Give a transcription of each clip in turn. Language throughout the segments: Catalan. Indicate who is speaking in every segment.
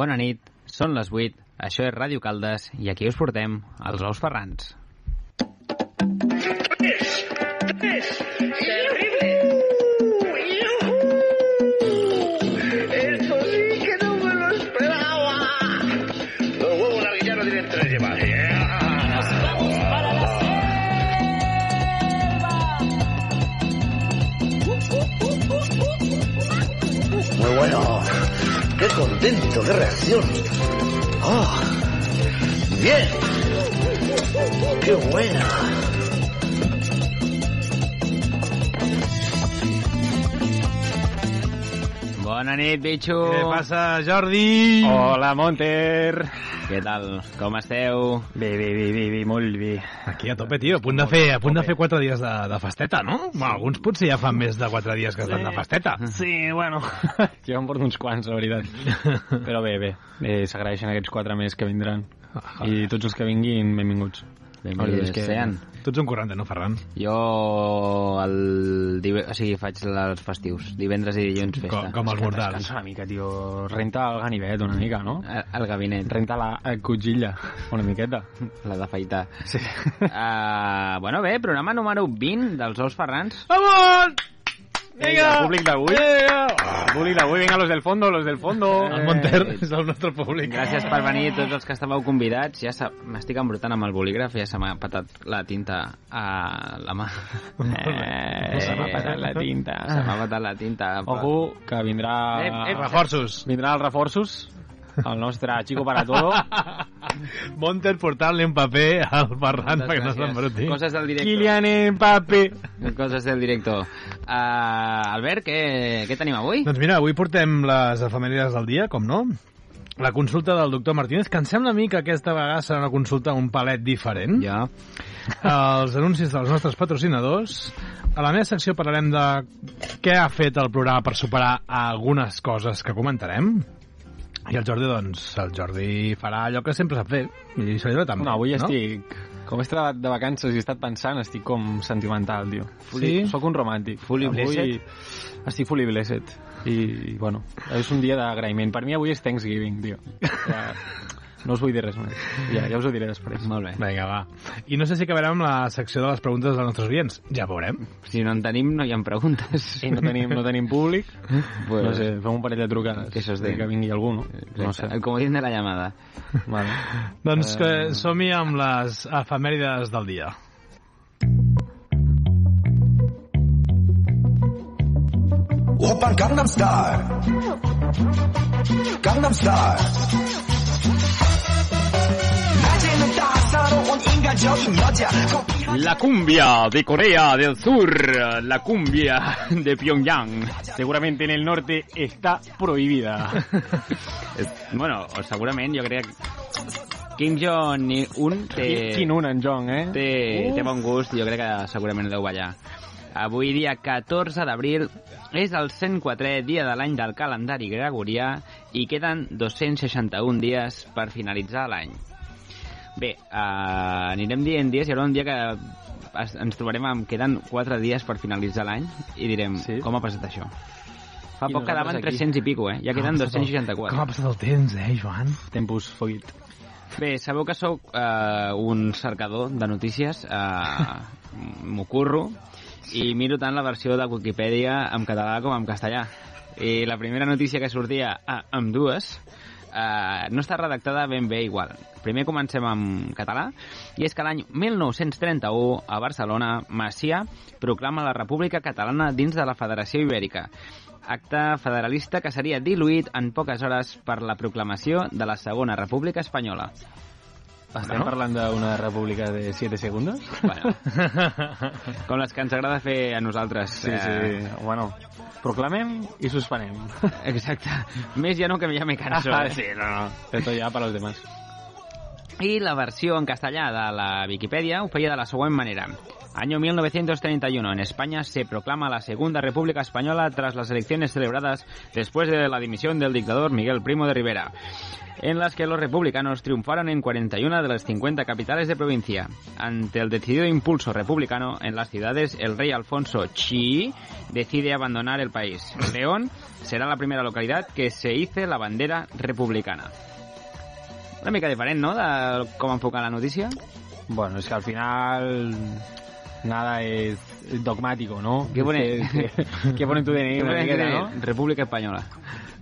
Speaker 1: bona nit, són les 8, això és Ràdio Caldes i aquí us portem els ous ferrans.
Speaker 2: Eso sí que no me lo esperaba. Los huevos la villana tienen tres ¿eh? llevas. Muy bueno. Qué contento, qué reacción. Oh, bien. Qué buena.
Speaker 1: Bona nit, bitxo!
Speaker 3: Què passa, Jordi?
Speaker 4: Oh. Hola, Monter.
Speaker 1: Què tal? Com esteu?
Speaker 4: Bé, bé, bé, bé, bé molt bé.
Speaker 3: Aquí a tope, tio. A punt de fer, a punt de fer quatre dies de, de festeta, no? Sí. Alguns potser ja fan més de quatre dies que estan de festeta.
Speaker 4: Sí, bueno. jo em porto uns quants, la veritat. Però bé, bé. Eh, S'agraeixen aquests quatre més que vindran. I tots els que vinguin, benvinguts.
Speaker 1: Benvinguts
Speaker 4: que-
Speaker 1: sean.
Speaker 3: Tu ets un 40, no, Ferran?
Speaker 1: Jo el... dive- O sigui, faig els festius. Divendres i dilluns festa.
Speaker 3: Com, com els mortals.
Speaker 4: Cansa una mica, tio. Renta el ganivet una mica, no?
Speaker 1: El, el gabinet.
Speaker 4: Renta la eh, cotxilla una miqueta.
Speaker 1: La d'afaitar. Sí.
Speaker 4: Ah,
Speaker 1: Uh, bueno, bé, programa número 20 dels Ous Ferrans.
Speaker 3: Vamos!
Speaker 4: Vinga, públic d'avui. Ah, Públic d'avui, vinga, los del fondo, los del fondo.
Speaker 3: El Monter és el nostre públic.
Speaker 1: Gràcies per venir tots els que estàveu convidats. Ja se- m'estic embrutant amb el bolígraf, ja se m'ha patat la tinta a la mà. Eh,
Speaker 4: Se m'ha patat la tinta.
Speaker 1: Se m'ha patat la tinta.
Speaker 4: Ojo, que vindrà...
Speaker 1: Ep, ep.
Speaker 3: Reforços.
Speaker 4: Vindran els reforços. El nostre Chico para todo.
Speaker 3: Monter portant-li un paper al Ferran perquè no s'embruti.
Speaker 1: Coses del director.
Speaker 4: Kylian Mbappé.
Speaker 1: Coses del director. Uh, Albert, què, què tenim avui?
Speaker 3: Doncs mira, avui portem les efemèrides del dia, com no? La consulta del doctor Martínez, que em sembla a mi que aquesta vegada serà una consulta un palet diferent.
Speaker 1: Ja.
Speaker 3: Els anuncis dels nostres patrocinadors. A la meva secció parlarem de què ha fet el programa per superar algunes coses que comentarem. I el Jordi, doncs, el Jordi farà allò que sempre sap fer. I se li dona també,
Speaker 4: No, avui
Speaker 3: no?
Speaker 4: estic... Com he estat de vacances i he estat pensant, estic com sentimental, tio.
Speaker 3: Sí?
Speaker 4: Soc un romàntic.
Speaker 1: Fully
Speaker 4: Avui
Speaker 1: blessed?
Speaker 4: Estic fully blessed. I, I, bueno, és un dia d'agraïment. Per mi avui és Thanksgiving, tio. Ja, no us vull dir res més. Ja, ja us ho diré després.
Speaker 1: Molt bé.
Speaker 3: Vinga, va. I no sé si acabarem amb la secció de les preguntes dels nostres oients. Ja veurem.
Speaker 1: Si no en tenim, no hi ha preguntes.
Speaker 4: Sí, no tenim, no tenim públic.
Speaker 1: Pues-
Speaker 4: No sé, fem un parell de trucades.
Speaker 1: Que se os den.
Speaker 4: Que vingui algú, no? No sé.
Speaker 1: El comodín de la llamada.
Speaker 4: Vale.
Speaker 3: Doncs que
Speaker 4: Eh.
Speaker 3: som-hi amb les efemèrides del dia.
Speaker 5: 오빤 강남스타일 강남스타일 낮에는 따사로운 인간적인 여자 커피 한
Speaker 4: La cumbia de Corea del Sur, la cumbia de Pyongyang. Seguramente en el norte está prohibida.
Speaker 1: Es- Bueno, o segurament jo crec Kim Jong-un té,
Speaker 4: Kim un en Jong, eh?
Speaker 1: té, té bon gust i jo crec que segurament deu ballar. Avui, dia 14 d'abril, és el 104è dia de l'any del calendari gregorià i queden 261 dies per finalitzar l'any. Bé, eh, anirem dient dies, hi haurà un dia que es, ens trobarem amb queden 4 dies per finalitzar l'any i direm sí.
Speaker 4: Sí.
Speaker 1: com ha passat això. Fa
Speaker 4: I
Speaker 1: poc quedaven
Speaker 4: nosaltres aquí.
Speaker 1: 300 i pico, eh? Ja queden 264.
Speaker 3: Ah, Com ha passat el temps, eh, Joan?
Speaker 4: Tempus Fogit.
Speaker 1: Bé, sabeu que sóc eh, un cercador de notícies, eh, m'ho curro, i miro tant la versió de Wikipedia en català com en castellà. I la primera notícia que sortia a amb dues eh, no està redactada ben bé igual. Primer comencem amb català, i és que l'any 1931, a Barcelona, Macià proclama la República Catalana dins de la Federació Ibèrica acte federalista que seria diluït en poques hores per la proclamació de la Segona República Espanyola.
Speaker 4: Estem
Speaker 1: Bueno.
Speaker 4: parlant d'una república de 7 segundos?
Speaker 1: Bueno, com les que ens agrada fer a nosaltres.
Speaker 4: Sí, sí. Bueno, proclamem i suspenem.
Speaker 1: Eh, Exacte. Més ja no, que ja me eh? canso.
Speaker 4: Ah, sí, no, no. Esto ya para los demás.
Speaker 1: I la versió en castellà de la Wikipedia ho feia de la següent manera. Año 1931. En España se proclama la Segunda República Española tras las elecciones celebradas después de la dimisión del dictador Miguel Primo de Rivera. en las que los republicanos triunfaron en 41 de las 50 capitales de provincia. Ante el decidido impulso republicano en las ciudades, el rey Alfonso Chi decide abandonar el país. León será la primera localidad que se hice la bandera republicana. Una mica diferent, no?, de com enfocar la notícia.
Speaker 4: Bueno, es que al final nada es dogmático, ¿no?
Speaker 1: Qué pone-
Speaker 4: ¿Qué pone tu DNI? una miqueta, ¿no?
Speaker 1: República Espanyola.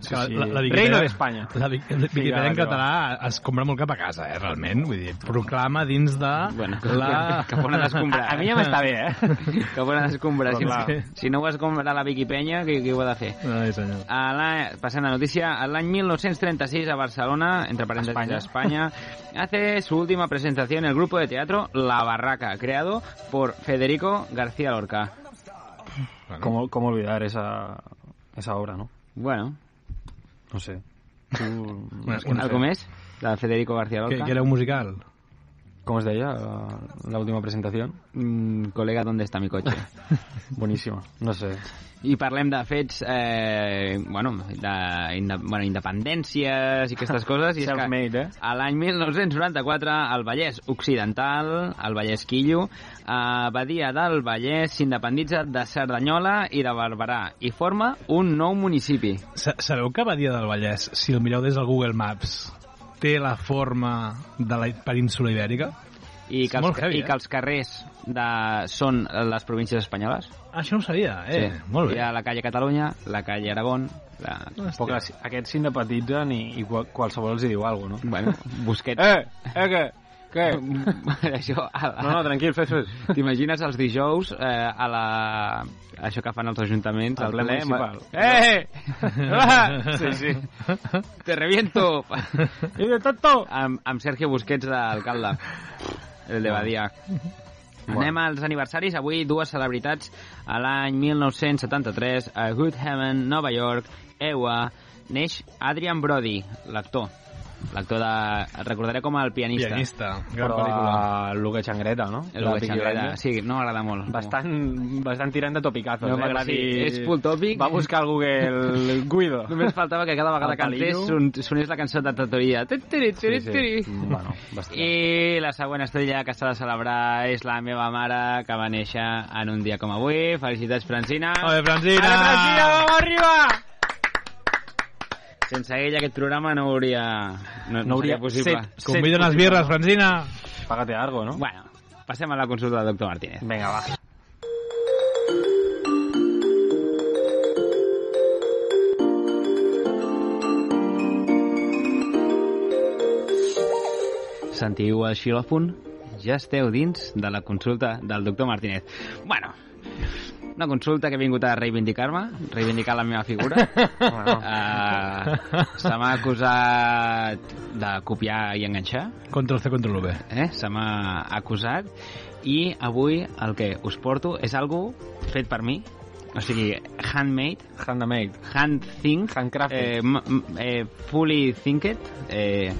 Speaker 4: Sí, sí.
Speaker 3: La, la Viquipèdia-
Speaker 4: Reino d'Espanya.
Speaker 3: La, Vic- la Viquipèdia en
Speaker 4: va, que va.
Speaker 3: català es compra molt cap a casa, eh, realment. Vull dir, proclama dins de
Speaker 1: Bueno,
Speaker 3: la...
Speaker 1: cap on ha d'escombrar.
Speaker 4: A, a mi ja m'està bé, eh?
Speaker 1: Cap on ha d'escombrar. Si,
Speaker 4: Però clar.
Speaker 1: no- si no ho has comprat a la Viquipenya, què, què ho ha de fer?
Speaker 3: Ai, senyor.
Speaker 1: A la, passant a la notícia, a l'any 1936 a Barcelona, entre paréntesis
Speaker 4: España.
Speaker 1: España. hace su última presentación el grupo de teatro La Barraca, creado por Federico García Lorca.
Speaker 3: Bueno,
Speaker 4: ¿Cómo, cómo olvidar esa, esa obra, no?
Speaker 1: Bueno,
Speaker 4: No sé. Tú,
Speaker 3: Bueno,
Speaker 4: és que
Speaker 3: un-
Speaker 4: no sé.
Speaker 1: ¿algo més? De Federico García
Speaker 3: que,
Speaker 1: Lorca.
Speaker 3: que era un musical.
Speaker 4: ¿Cómo es de ella la última presentación?
Speaker 1: Mm, colega, ¿dónde está mi coche?
Speaker 4: Buenísima. No sé.
Speaker 1: I parlem de fets, eh, bueno, de inde- bueno, independències i aquestes coses. I és que
Speaker 4: Self-made, eh?
Speaker 1: a l'any 1994, al Vallès Occidental, al Vallès Quillo, a Badia del Vallès s'independitza de Cerdanyola i de Barberà i forma un nou municipi.
Speaker 3: Sa- Sabeu que Badia del Vallès, si el mireu des del Google Maps, té la forma de la península ibèrica?
Speaker 1: I
Speaker 3: És
Speaker 1: que, els,
Speaker 3: molt heavy,
Speaker 1: i
Speaker 3: eh?
Speaker 1: que els carrers de, són les províncies espanyoles.
Speaker 3: Això no ho sabia, eh? Molt
Speaker 1: Hi
Speaker 3: bé.
Speaker 1: ha la calle Catalunya, la calle Aragón, la...
Speaker 3: Hòstia.
Speaker 4: Però clar, si- aquests s'indepatitzen i, i qual- qualsevol els hi diu alguna cosa, no?
Speaker 1: Bueno, Busquets.
Speaker 4: Eh! Eh, què? Què?
Speaker 1: Això, a la,
Speaker 4: No, no, tranquil, fes, fes.
Speaker 1: T'imagines els dijous eh, a la... Això que fan els ajuntaments,
Speaker 4: Al
Speaker 1: al
Speaker 4: ple
Speaker 1: ple...
Speaker 4: municipal.
Speaker 1: Eh! Ah!
Speaker 4: Sí, sí.
Speaker 1: Te reviento!
Speaker 4: I de tanto!
Speaker 1: amb, amb Sergio Busquets d'alcalde. El de Badia. Anem als aniversaris. Avui dues celebritats a l'any 1973 a Good Heaven, Nova York, EWA, neix Adrian Brody, l'actor. L'actor de... el Recordaré com el pianista.
Speaker 3: Pianista. Gran
Speaker 4: Però ah,
Speaker 3: pel·lícula.
Speaker 4: a Luque Changreta, no?
Speaker 1: El
Speaker 4: La
Speaker 1: Hugo Changreta.
Speaker 4: piquirranya.
Speaker 1: Sí, no m'agrada molt.
Speaker 4: Bastant, bastant tirant de topicazos.
Speaker 1: No,
Speaker 4: eh?
Speaker 1: perquè
Speaker 4: Vull
Speaker 1: sí,
Speaker 4: dir,
Speaker 1: és full topic.
Speaker 4: Va buscar a Google Guido.
Speaker 1: Només faltava que cada vegada
Speaker 4: El
Speaker 1: que cantés
Speaker 4: Palillo.
Speaker 1: son, sonés la cançó de Tatoria. Tiri, tiri, tiri, tiri.
Speaker 4: Bueno, bastant.
Speaker 1: I la següent estrella que s'ha de celebrar és la meva mare, que va néixer en un dia com avui. Felicitats, Francina.
Speaker 3: Molt bé, Francina!
Speaker 1: Ara,
Speaker 4: Ah.
Speaker 1: Francina, vamos arriba! Sense ella aquest programa no hauria... No, no hauria
Speaker 4: seria
Speaker 1: possible.
Speaker 4: set-
Speaker 3: Convida unes birres, Francina!
Speaker 4: Págate algo, ¿no?
Speaker 1: Bueno, passem a la consulta del doctor Martínez.
Speaker 4: Venga, va.
Speaker 1: Sentiu el xilòfon? Ja esteu dins de la consulta del doctor Martínez. Bueno, una consulta que he vingut a reivindicar-me, reivindicar la meva figura.
Speaker 4: Bueno,
Speaker 1: Uh, se m'ha acusat de copiar i enganxar,
Speaker 3: Control C, control V.
Speaker 1: eh? se m'ha acusat, i avui el que us porto és algo fet per mi, o sigui, handmade,
Speaker 4: handmade.
Speaker 1: hand think,
Speaker 4: Handcrafted.
Speaker 1: eh, m- m- eh, fully thinked, eh,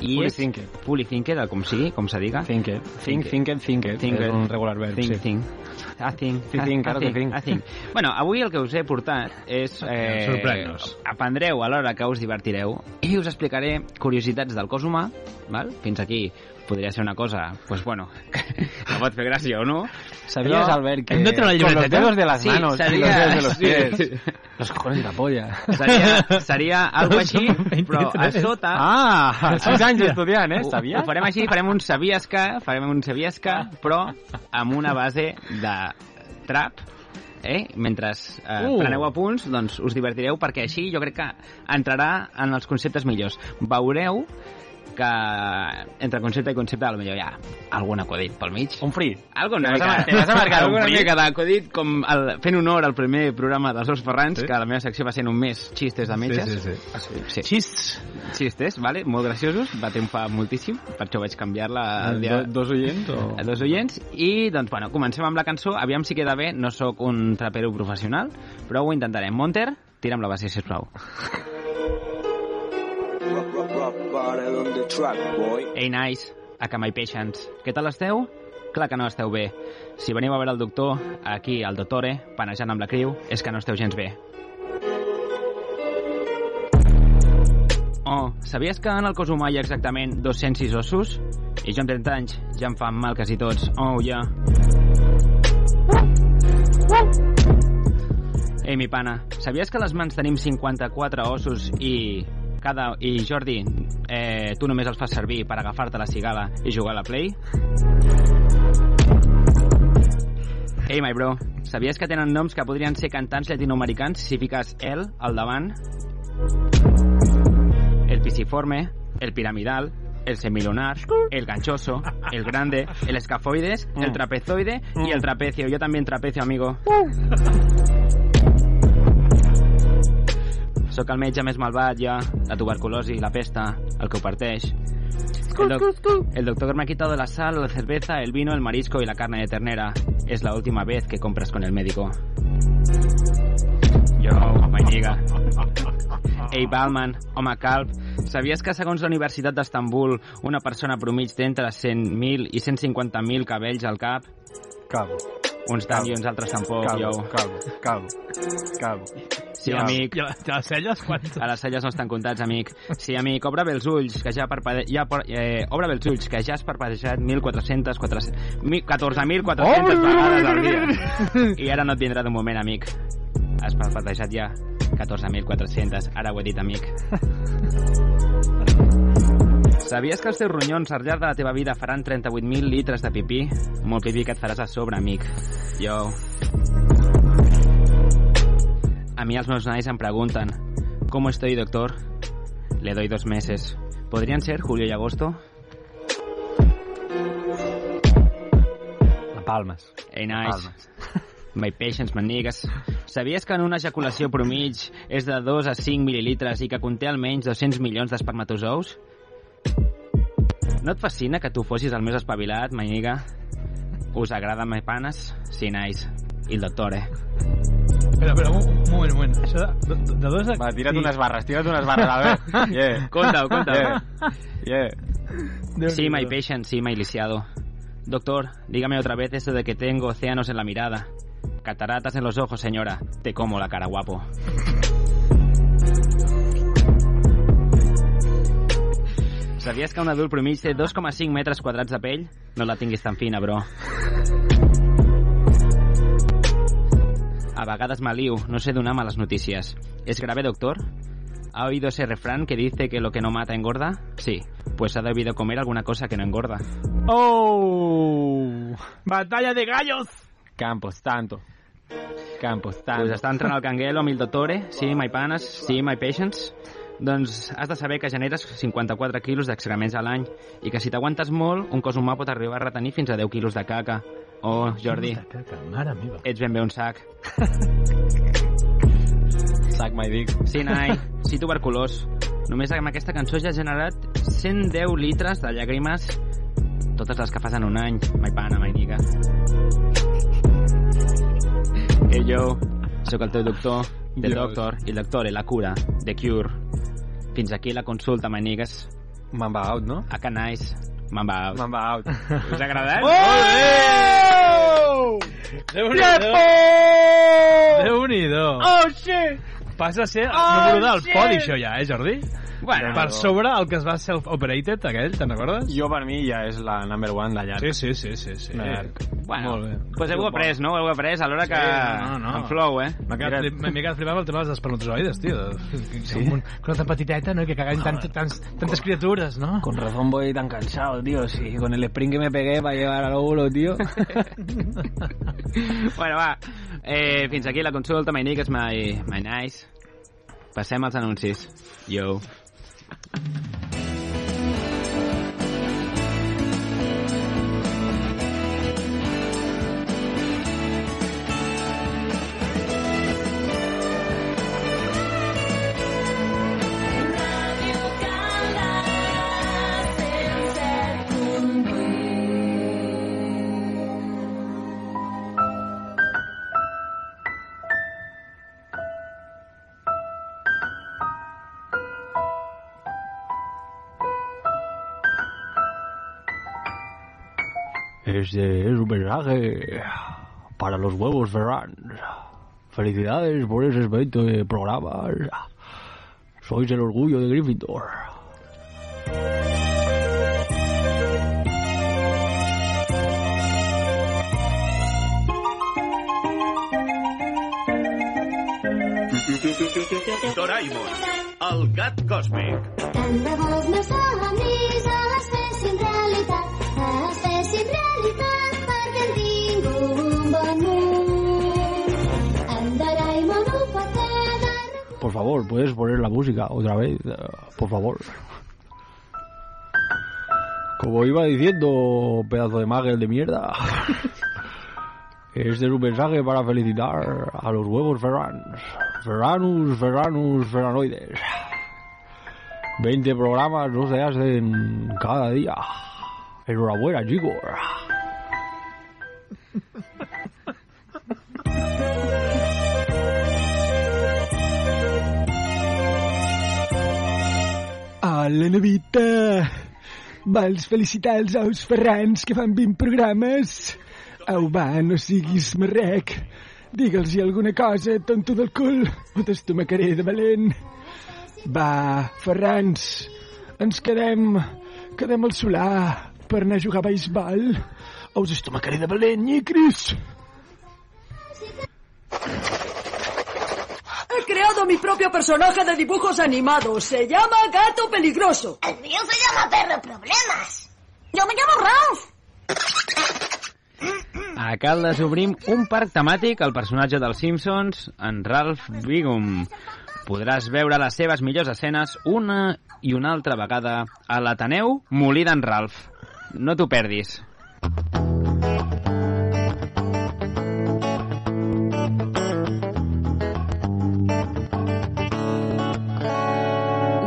Speaker 1: i
Speaker 4: Fully
Speaker 1: és-
Speaker 4: thinked.
Speaker 1: fully thinked, o com sigui, com se diga.
Speaker 4: Think it. Think, think it, think it.
Speaker 1: Think
Speaker 4: És
Speaker 1: it.
Speaker 4: un regular verb,
Speaker 1: Think,
Speaker 4: sí.
Speaker 1: think. I think,
Speaker 4: Sí, think, ara
Speaker 1: I
Speaker 4: que
Speaker 1: think,
Speaker 4: think.
Speaker 1: I think. Bueno, avui el que us he portat és... Eh,
Speaker 3: Sorprèn-nos.
Speaker 1: Aprendreu a l'hora que us divertireu i us explicaré curiositats del cos humà, val? fins aquí podria ser una cosa, pues bueno, que pot fer gràcia o no.
Speaker 4: ¿Sabías,
Speaker 1: Però-
Speaker 4: Albert, que
Speaker 3: ¿No te lo
Speaker 4: con los
Speaker 3: libreteta?
Speaker 4: dedos de las
Speaker 1: Sí,
Speaker 4: manos y
Speaker 1: sabía.
Speaker 4: los dedos de los
Speaker 1: Sí.
Speaker 4: pies? Los cojones de la polla.
Speaker 1: Seria, seria algo així, però a
Speaker 3: 23.
Speaker 1: sota...
Speaker 4: Ah, seis
Speaker 3: Hòstia.
Speaker 4: anys estudiant, eh?
Speaker 1: ho,
Speaker 4: Sabia?
Speaker 1: ho farem així, farem un sabies que, farem un sabies que, però amb una base de trap, eh? Mentre eh,
Speaker 3: Uh.
Speaker 1: uh. preneu apunts, doncs us divertireu, perquè així jo crec que entrarà en els conceptes millors. Veureu que entre concepte i concepte potser hi ha algun acudit pel mig.
Speaker 4: Un free.
Speaker 1: Algo
Speaker 4: Te
Speaker 1: una
Speaker 4: vas a
Speaker 1: mica,
Speaker 4: mar- te vas a marcar un
Speaker 1: alguna
Speaker 4: frit.
Speaker 1: mica d'acudit, com el, fent honor al primer programa dels dos Ferrans, sí? que la meva secció va ser només xistes de metges.
Speaker 3: Sí, sí,
Speaker 1: Ah, sí. sí
Speaker 3: Xists.
Speaker 1: xistes, vale? molt graciosos, va triomfar moltíssim, per això vaig canviar-la
Speaker 4: Ah,
Speaker 1: al dia
Speaker 4: Do, dos oients o...
Speaker 1: a Eh, dos oients, i doncs, bueno, comencem amb la cançó, aviam si queda bé, no sóc un trapero professional, però ho intentarem. Monter, tira'm la base, sisplau. Hey, nice, a que my patients. Què tal esteu? Clar que no esteu bé. Si veniu a veure el doctor, aquí, al doctore, panejant amb la criu, és que no esteu gens bé. Oh, sabies que en el cos humà hi ha exactament 206 ossos? I jo amb 30 anys ja em fan mal quasi tots. Oh, ja. Yeah. Ei, mi pana, sabies que a les mans tenim 54 ossos i... Cada... I Jordi, eh, tu només els fas servir per agafar-te la cigala i jugar a la Play? Ei, my bro, sabies que tenen noms que podrien ser cantants llatinoamericans si fiques el al davant? el pisiforme, el piramidal, el semilunar, el ganchoso, el grande, el escafoides, el trapezoide y el trapecio. Yo también trapecio, amigo. Sóc el metge més malvat, ja, la tuberculosi, la pesta, el que ho parteix. El, doc el doctor me ha quitado la sal, la cerveza, el vino, el marisco y la carne de ternera. Es la última vez que compras con el médico. Yo, my nigga. Ei, Balman, home calb, sabies que segons la Universitat d'Estambul una persona promig té entre 100.000 i 150.000 cabells al cap?
Speaker 4: Calvo,
Speaker 1: Uns tant i uns altres tampoc, jo.
Speaker 4: calvo, calvo, calvo, calvo.
Speaker 1: Sí, amic.
Speaker 3: I a, i a les celles, quants?
Speaker 1: A les celles no estan comptats, amic. Sí, amic, obre bé els ulls, que ja, parpade... ja por... eh, obre bé els ulls, que ja has parpadejat 1.400... 400... mi- 14.400 vegades al dia. I ara no et vindrà d'un moment, amic. Has parpadejat ja 14.400. Ara ho he dit, amic. Sabies que els teus ronyons al llarg de la teva vida faran 38.000 litres de pipí? Molt pipí que et faràs a sobre, amic. Jo... A mi els meus nais em pregunten ¿Cómo estoy, doctor? Le doy dos meses. ¿Podrían ser julio y agosto?
Speaker 4: La palmes.
Speaker 1: Hey, nice. My patience, my niggas. Sabies que en una ejaculació promig és de 2 a 5 mil·lilitres i que conté almenys 200 milions d'espermatozous? No et fascina que tu fossis el més espavilat, my nigga? Us agrada, my panes? Sí, nice. I el doctor, eh?
Speaker 3: Espera, espera, un, un moment, un moment. Això de, de, de dos... A...
Speaker 4: Va, tira't unes barres, tira't unes barres, Albert. Yeah.
Speaker 1: Conta-ho, conta-ho.
Speaker 4: Yeah. yeah.
Speaker 3: Déu
Speaker 1: Sí,
Speaker 3: n'hi
Speaker 1: my
Speaker 3: do.
Speaker 1: patient, sí, my lisiado. Doctor, dígame otra vez eso de que tengo océanos en la mirada. Cataratas en los ojos, señora. Te como la cara, guapo. Sabies que un adult promig té 2,5 metres quadrats de pell? No la tinguis tan fina, bro. A vegades maliu, no sé donar males notícies. ¿Es grave, doctor? ¿Ha oído ese refrán que dice que lo que no mata engorda? Sí, pues ha debido comer alguna cosa que no engorda.
Speaker 4: Oh!
Speaker 3: Batalla de gallos!
Speaker 4: Campos, tanto. Campos,
Speaker 6: Pues
Speaker 1: Us
Speaker 4: tanto.
Speaker 1: està entrant al canguelo amb el doctore, sí, my panes, sí, my patients. Doncs has de saber que generes 54 quilos d'excrements a l'any i que si t'aguantes molt, un cos humà pot arribar a retenir fins a 10 quilos de caca. Oh, Jordi,
Speaker 3: Hòstia, caca, mare meva.
Speaker 1: ets ben bé un sac.
Speaker 4: Suck my dick.
Speaker 1: Sí, nai, sí, tuberculós. Només amb aquesta cançó ja has generat 110 litres de llàgrimes totes les que fas en un any. My pana, my nigga. Ei, jo, sóc el teu doctor, the
Speaker 4: Dios.
Speaker 1: doctor, i el doctor, la cura, the cure. Fins aquí la consulta, my niggas.
Speaker 4: Mamba out, no?
Speaker 1: A que nice. Me'n va. out.
Speaker 4: Mamba out.
Speaker 1: Us ha agradat?
Speaker 4: Oh!
Speaker 3: Déu-n'hi-do. Oh, shit! Passa a ser el número del podi, això ja, eh, Jordi?
Speaker 1: Bueno,
Speaker 3: Per sobre el que es va self-operated, aquell, te'n recordes?
Speaker 4: Jo, per mi, ja és la number one d'allà.
Speaker 3: Sí, sí, sí, sí. sí.
Speaker 4: Merc.
Speaker 1: bueno.
Speaker 4: Molt bé.
Speaker 1: Pues heu après, no? Heu après a l'hora que...
Speaker 3: no, no.
Speaker 1: Em flou, eh?
Speaker 3: M'he quedat,
Speaker 4: Mira-
Speaker 3: flip- m'he quedat flipant amb el tema dels espermatozoides, tio. Sí? Un, cosa tan petiteta, no? Que caguen tant, tants, tantes criatures, no?
Speaker 4: Con razón voy tan cansado, tío. Si con el sprint que me pegué para llegar al óvulo, tío.
Speaker 1: Bueno, va. Eh, fins aquí la consulta. My niggas, my, my nice. Passem als anuncis. Yo.
Speaker 6: Este es un mensaje para los huevos Ferran. Felicidades por esos 20 programas. Sois el orgullo de Gryffindor.
Speaker 7: Doraemon, el gat còsmic.
Speaker 8: Tant de bo els meus somnis es fessin realitat, es fessin realitat perquè hem tingut un bon món. Amb Doraemon ho pot agarrar.
Speaker 6: Por favor, puedes poner la música otra vez, eh, por favor. Como iba diciendo, pedazo de magel de mierda. Este es un mensaje para felicitar a los huevos Ferrans. Ferranus, Ferranus, Ferranoides. 20 programas no se hacen cada día. Enhorabuena, chicos.
Speaker 9: Hola, Novita! Vols felicitar els ous ferrans que fan 20 programes? Au, va, no siguis marrec. Digue'ls-hi alguna cosa, tonto del cul, o t'estomacaré de valent. Va, ferrans, ens quedem... quedem al solar per anar a jugar a beisbol. O us estomacaré de valent, nyicris!
Speaker 10: He creado mi propio personaje de dibujos animados. Se llama Gato Peligroso.
Speaker 8: El mío se llama Perro Problemas. Yo me llamo Ralph.
Speaker 1: A Caldes obrim un parc temàtic al personatge dels Simpsons, en Ralph Wiggum. Podràs veure les seves millors escenes una i una altra vegada a l'Ateneu Molí d'en Ralph. No t'ho perdis.